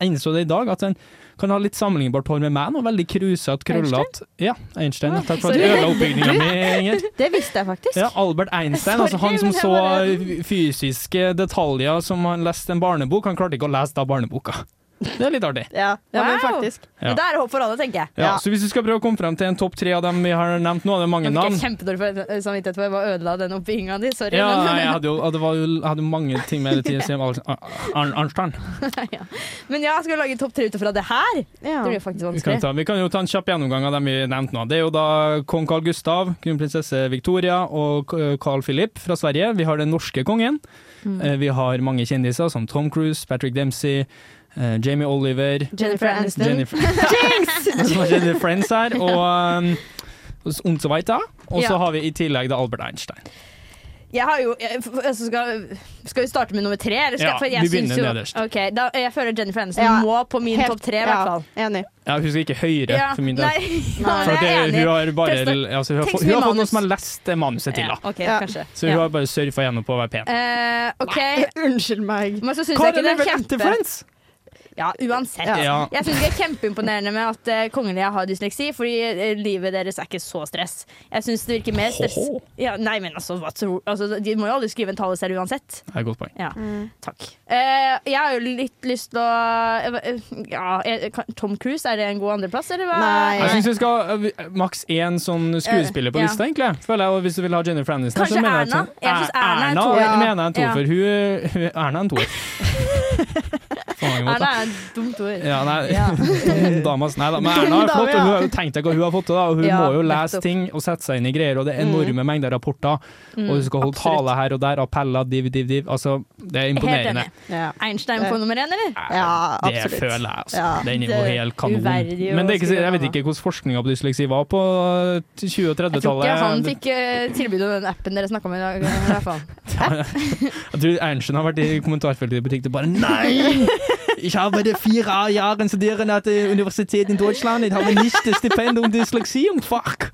Speaker 2: innså det i dag, at han kan ha litt sammenlignbart hår med meg nå. Veldig krusete, krøllete. Ja, Einstein. Takk for at du
Speaker 5: sorry.
Speaker 2: ødela oppbygninga mi, Inger.
Speaker 5: Det visste jeg faktisk.
Speaker 2: Ja, Albert Einstein, altså han som så fysiske detaljer som han leste en barnebok, han klarte ikke å lese da barneboka. Det er litt artig.
Speaker 5: Ja, ja men faktisk.
Speaker 2: Ja.
Speaker 4: Det er håp for alle, tenker jeg.
Speaker 2: Ja, Så hvis du skal prøve å komme frem til en topp tre av dem vi har nevnt nå, det er mange
Speaker 4: Nå fikk
Speaker 2: navn.
Speaker 4: jeg kjempedårlig for- eh, samvittighet for jeg bare ødela den oppbygginga di. Sorry.
Speaker 2: Ja,
Speaker 4: men-
Speaker 2: nei, jeg hadde jo, det var jo jeg hadde jo mange ting med det til å si om Arnstein.
Speaker 4: Men ja, skal vi lage topp tre ut ifra det her? Det blir faktisk
Speaker 2: Vi kan,
Speaker 4: vanskelig.
Speaker 2: ta, vi kan jo ta en kjapp gjennomgang av dem vi nevnte nå. Det er jo da kong Carl Gustav, kronprinsesse Victoria og k- Carl Philip fra Sverige. Vi har den norske kongen.
Speaker 4: Mm.
Speaker 2: Eh, Vi har mange kjendiser som Tom Cruise, Patrick Dempsey, eh, Jamie Oliver
Speaker 4: Jennifer Aniston.
Speaker 2: Jennifer, Jennifer Friends her, og um, Und so weiter. Og så
Speaker 4: Ja.
Speaker 2: har vi i tillegg da Albert Einstein.
Speaker 4: Jeg har jo jeg, f- altså skal, skal vi starte med nummer tre? Eller skal,
Speaker 2: Ja,
Speaker 4: for jeg
Speaker 2: vi
Speaker 4: syns
Speaker 2: begynner
Speaker 4: jo-
Speaker 2: nederst.
Speaker 4: Ok, da, Jeg føler Jennifer Aniston
Speaker 5: Ja,
Speaker 4: må på min
Speaker 5: helt-
Speaker 4: topp tre, i
Speaker 5: ja,
Speaker 4: hvert fall.
Speaker 5: Enig.
Speaker 2: Ja, hun skal ikke høyre
Speaker 4: Ja,
Speaker 2: for min del.
Speaker 4: Nei, ja,
Speaker 2: For at
Speaker 4: jeg er
Speaker 2: det,
Speaker 4: enig.
Speaker 2: hun har bare
Speaker 4: Tekst-
Speaker 2: altså, hun har,
Speaker 4: tekst
Speaker 2: fått- hun har
Speaker 4: med
Speaker 2: fått noen
Speaker 4: manus.
Speaker 2: som har lest det manuset til,
Speaker 4: Ja,
Speaker 2: da.
Speaker 4: ok,
Speaker 5: Ja.
Speaker 4: kanskje.
Speaker 2: Så hun
Speaker 4: Ja.
Speaker 2: har bare surfa gjennom på å være pen.
Speaker 4: Eh, ok,
Speaker 5: Unnskyld meg.
Speaker 4: men så syns
Speaker 2: Hva
Speaker 4: jeg ikke
Speaker 2: er det
Speaker 4: det er
Speaker 2: vel etter
Speaker 4: kjempe...
Speaker 2: Friends?
Speaker 4: Ja, uansett.
Speaker 2: Ja.
Speaker 4: Jeg syns det er kjempeimponerende med at eh, kongelige har dysleksi, fordi eh, livet deres er ikke så stress. Jeg syns det virker mer stress
Speaker 2: Ho-ho.
Speaker 4: ja, Nei, men altså, hva tror altså, De må jo aldri skrive en tale selv uansett.
Speaker 2: Det er et godt poeng.
Speaker 4: Ja, takk. Eh, jeg har jo litt lyst til å eh, ja, eh, kan- Tom Cruise, er det en god andreplass, eller hva?
Speaker 5: Nei.
Speaker 2: Jeg syns vi skal ha eh, maks én sånn skuespiller på
Speaker 4: Eh, Ja.
Speaker 2: lista, egentlig. Føler jeg, og hvis du vil ha Jennifer Aniston.
Speaker 4: Kanskje
Speaker 2: så mener jeg
Speaker 4: Erna?
Speaker 2: at-
Speaker 4: Jeg synes Erna er en
Speaker 2: Erna
Speaker 4: toer.
Speaker 2: mener jeg en toer
Speaker 4: Ja.
Speaker 2: for. Hun, hun Erna er en toer. På mange
Speaker 4: Erna
Speaker 2: måter.
Speaker 4: er et dumt ord.
Speaker 2: Ja, nei,
Speaker 4: Ja.
Speaker 2: dum damas. Nei da, men Erna er flott, og hun har jo tenkt deg hva hun har fått til. da, og Hun
Speaker 4: Ja,
Speaker 2: må jo
Speaker 4: nettopp.
Speaker 2: lese
Speaker 4: Mm.
Speaker 2: ting og sette seg inn i greier, og det er enorme mengder rapporter. Og hun skal holde
Speaker 5: absolutt.
Speaker 2: tale her og der, appeller, div, div, div. Altså, det er
Speaker 4: Helt
Speaker 2: imponerende.
Speaker 4: enig.
Speaker 5: Ja.
Speaker 4: Einstein på nummer én, eller?
Speaker 5: Ja,
Speaker 2: Det
Speaker 5: absolutt.
Speaker 2: føler jeg, altså.
Speaker 5: Ja,
Speaker 2: Den er jo
Speaker 5: det-
Speaker 2: helt kanon.
Speaker 4: uverdig å
Speaker 2: Men det er ikke, så-
Speaker 4: skrive
Speaker 2: jeg vet
Speaker 4: navnet.
Speaker 2: ikke hvordan forskninga på dysleksi var på 20- og
Speaker 4: Jeg tror
Speaker 2: 30-tallet.
Speaker 4: ikke han fikk eh, tilbud om den appen dere snakka om i dag. i hvert fall.
Speaker 2: Jeg tror Ernstsen har vært i kommentarfeltet i butikken og bare Nei! Jeg har bare fire år studert at universitetet i Deutschland. Jeg har ikke stipendium dysleksium. Fuck!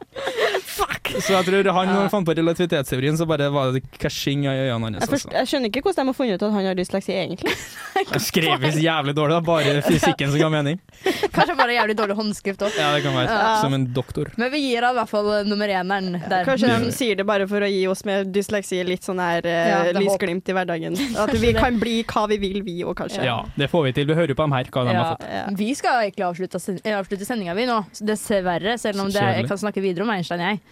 Speaker 2: Fuck! Så jeg tror han når han fant på relativitetsteorien, så bare var det cashin i øynene hans.
Speaker 5: Jeg,
Speaker 2: altså.
Speaker 5: forst, jeg skjønner ikke hvordan de har funnet ut at han har dysleksi, egentlig.
Speaker 2: Jeg skrev visst jævlig dårlig. da. Bare fysikken som ga mening.
Speaker 4: Kanskje bare jævlig dårlig håndskrift òg.
Speaker 2: Ja, det kan være. Som en doktor.
Speaker 4: Men vi gir han i hvert fall eh, nummer eneren der.
Speaker 5: Kanskje
Speaker 2: Ja.
Speaker 5: de sier det bare for å gi oss med dysleksi litt sånn her eh,
Speaker 4: Ja, det er håp.
Speaker 5: lysglimt i hverdagen. At vi kan bli hva vi vil, vi òg, kanskje.
Speaker 2: Ja, det får vi til. Vi hører jo på dem her, hva de har
Speaker 4: Ja.
Speaker 2: fått.
Speaker 5: Ja.
Speaker 4: Vi skal egentlig avslutte, sen- eh, avslutte sendinga vi nå, så dessverre. Selv om
Speaker 2: Så
Speaker 4: det,
Speaker 2: kjedelig.
Speaker 4: jeg kan snakke videre om Einstein, jeg.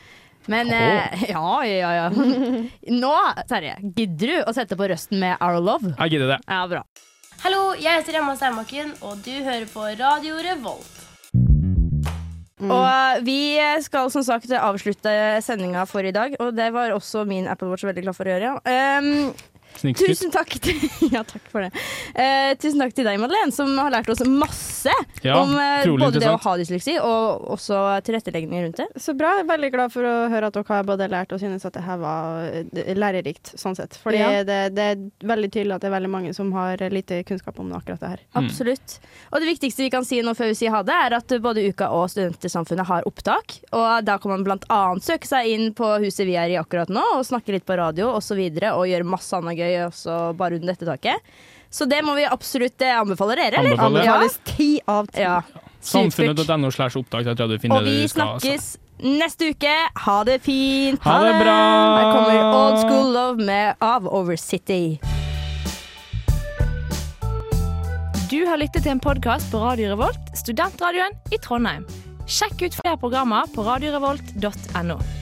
Speaker 4: Men eh, ja, ja, ja. Nå, Terje, gidder du å sette på røsten med Our Love?
Speaker 2: Jeg gidder det.
Speaker 4: Ja, bra.
Speaker 12: Hallo, jeg heter Emma Steinbakken, og du hører på Radio Revolt.
Speaker 4: Mm. Og eh, vi skal som sagt avslutte sendinga for i dag, og det var også min Apple Watch veldig glad for å gjøre. Ja. Um,
Speaker 2: Snikskutt.
Speaker 4: tusen takk til, ja, takk for det. Eh, tusen takk til deg, Madeleine, som har lært oss masse
Speaker 2: Ja,
Speaker 4: om eh,
Speaker 2: utrolig
Speaker 4: både det å
Speaker 2: interessant.
Speaker 4: ha dysleksi og også tilrettelegging rundt det.
Speaker 5: Så bra. Jeg er Veldig glad for å høre at dere har både lært og synes at det her var eh, lærerikt, sånn sett. Fordi
Speaker 4: Ja.
Speaker 5: det, det er veldig tydelig at det er veldig mange som har eh, lite kunnskap om akkurat det her.
Speaker 2: Mm.
Speaker 4: Absolutt. Og det viktigste vi kan si nå før vi sier ha det, er at både Uka og Studentersamfunnet har opptak. Og da kan man blant annet søke seg inn på huset vi er i akkurat nå, og snakke litt på radio osv. Og, så videre, og gjøre masse annet gøy også bare under dette taket. Så det må vi absolutt eh, anbefale dere, eller?
Speaker 2: Anbefaler.
Speaker 5: Anbefales ti av ti.
Speaker 4: Ja. Supert.
Speaker 2: Samfunnet.no slash opptak. Jeg tror du finner
Speaker 4: Og
Speaker 2: det
Speaker 4: vi
Speaker 2: du skal. altså.
Speaker 4: snakkes neste uke. Ha det fint.
Speaker 2: Ha det bra.
Speaker 4: Her kommer Old School Love med Av Over City.
Speaker 13: Du har lyttet til en podkast på Radio Revolt, studentradioen i Trondheim. Sjekk ut flere programmer på radiorevolt.no.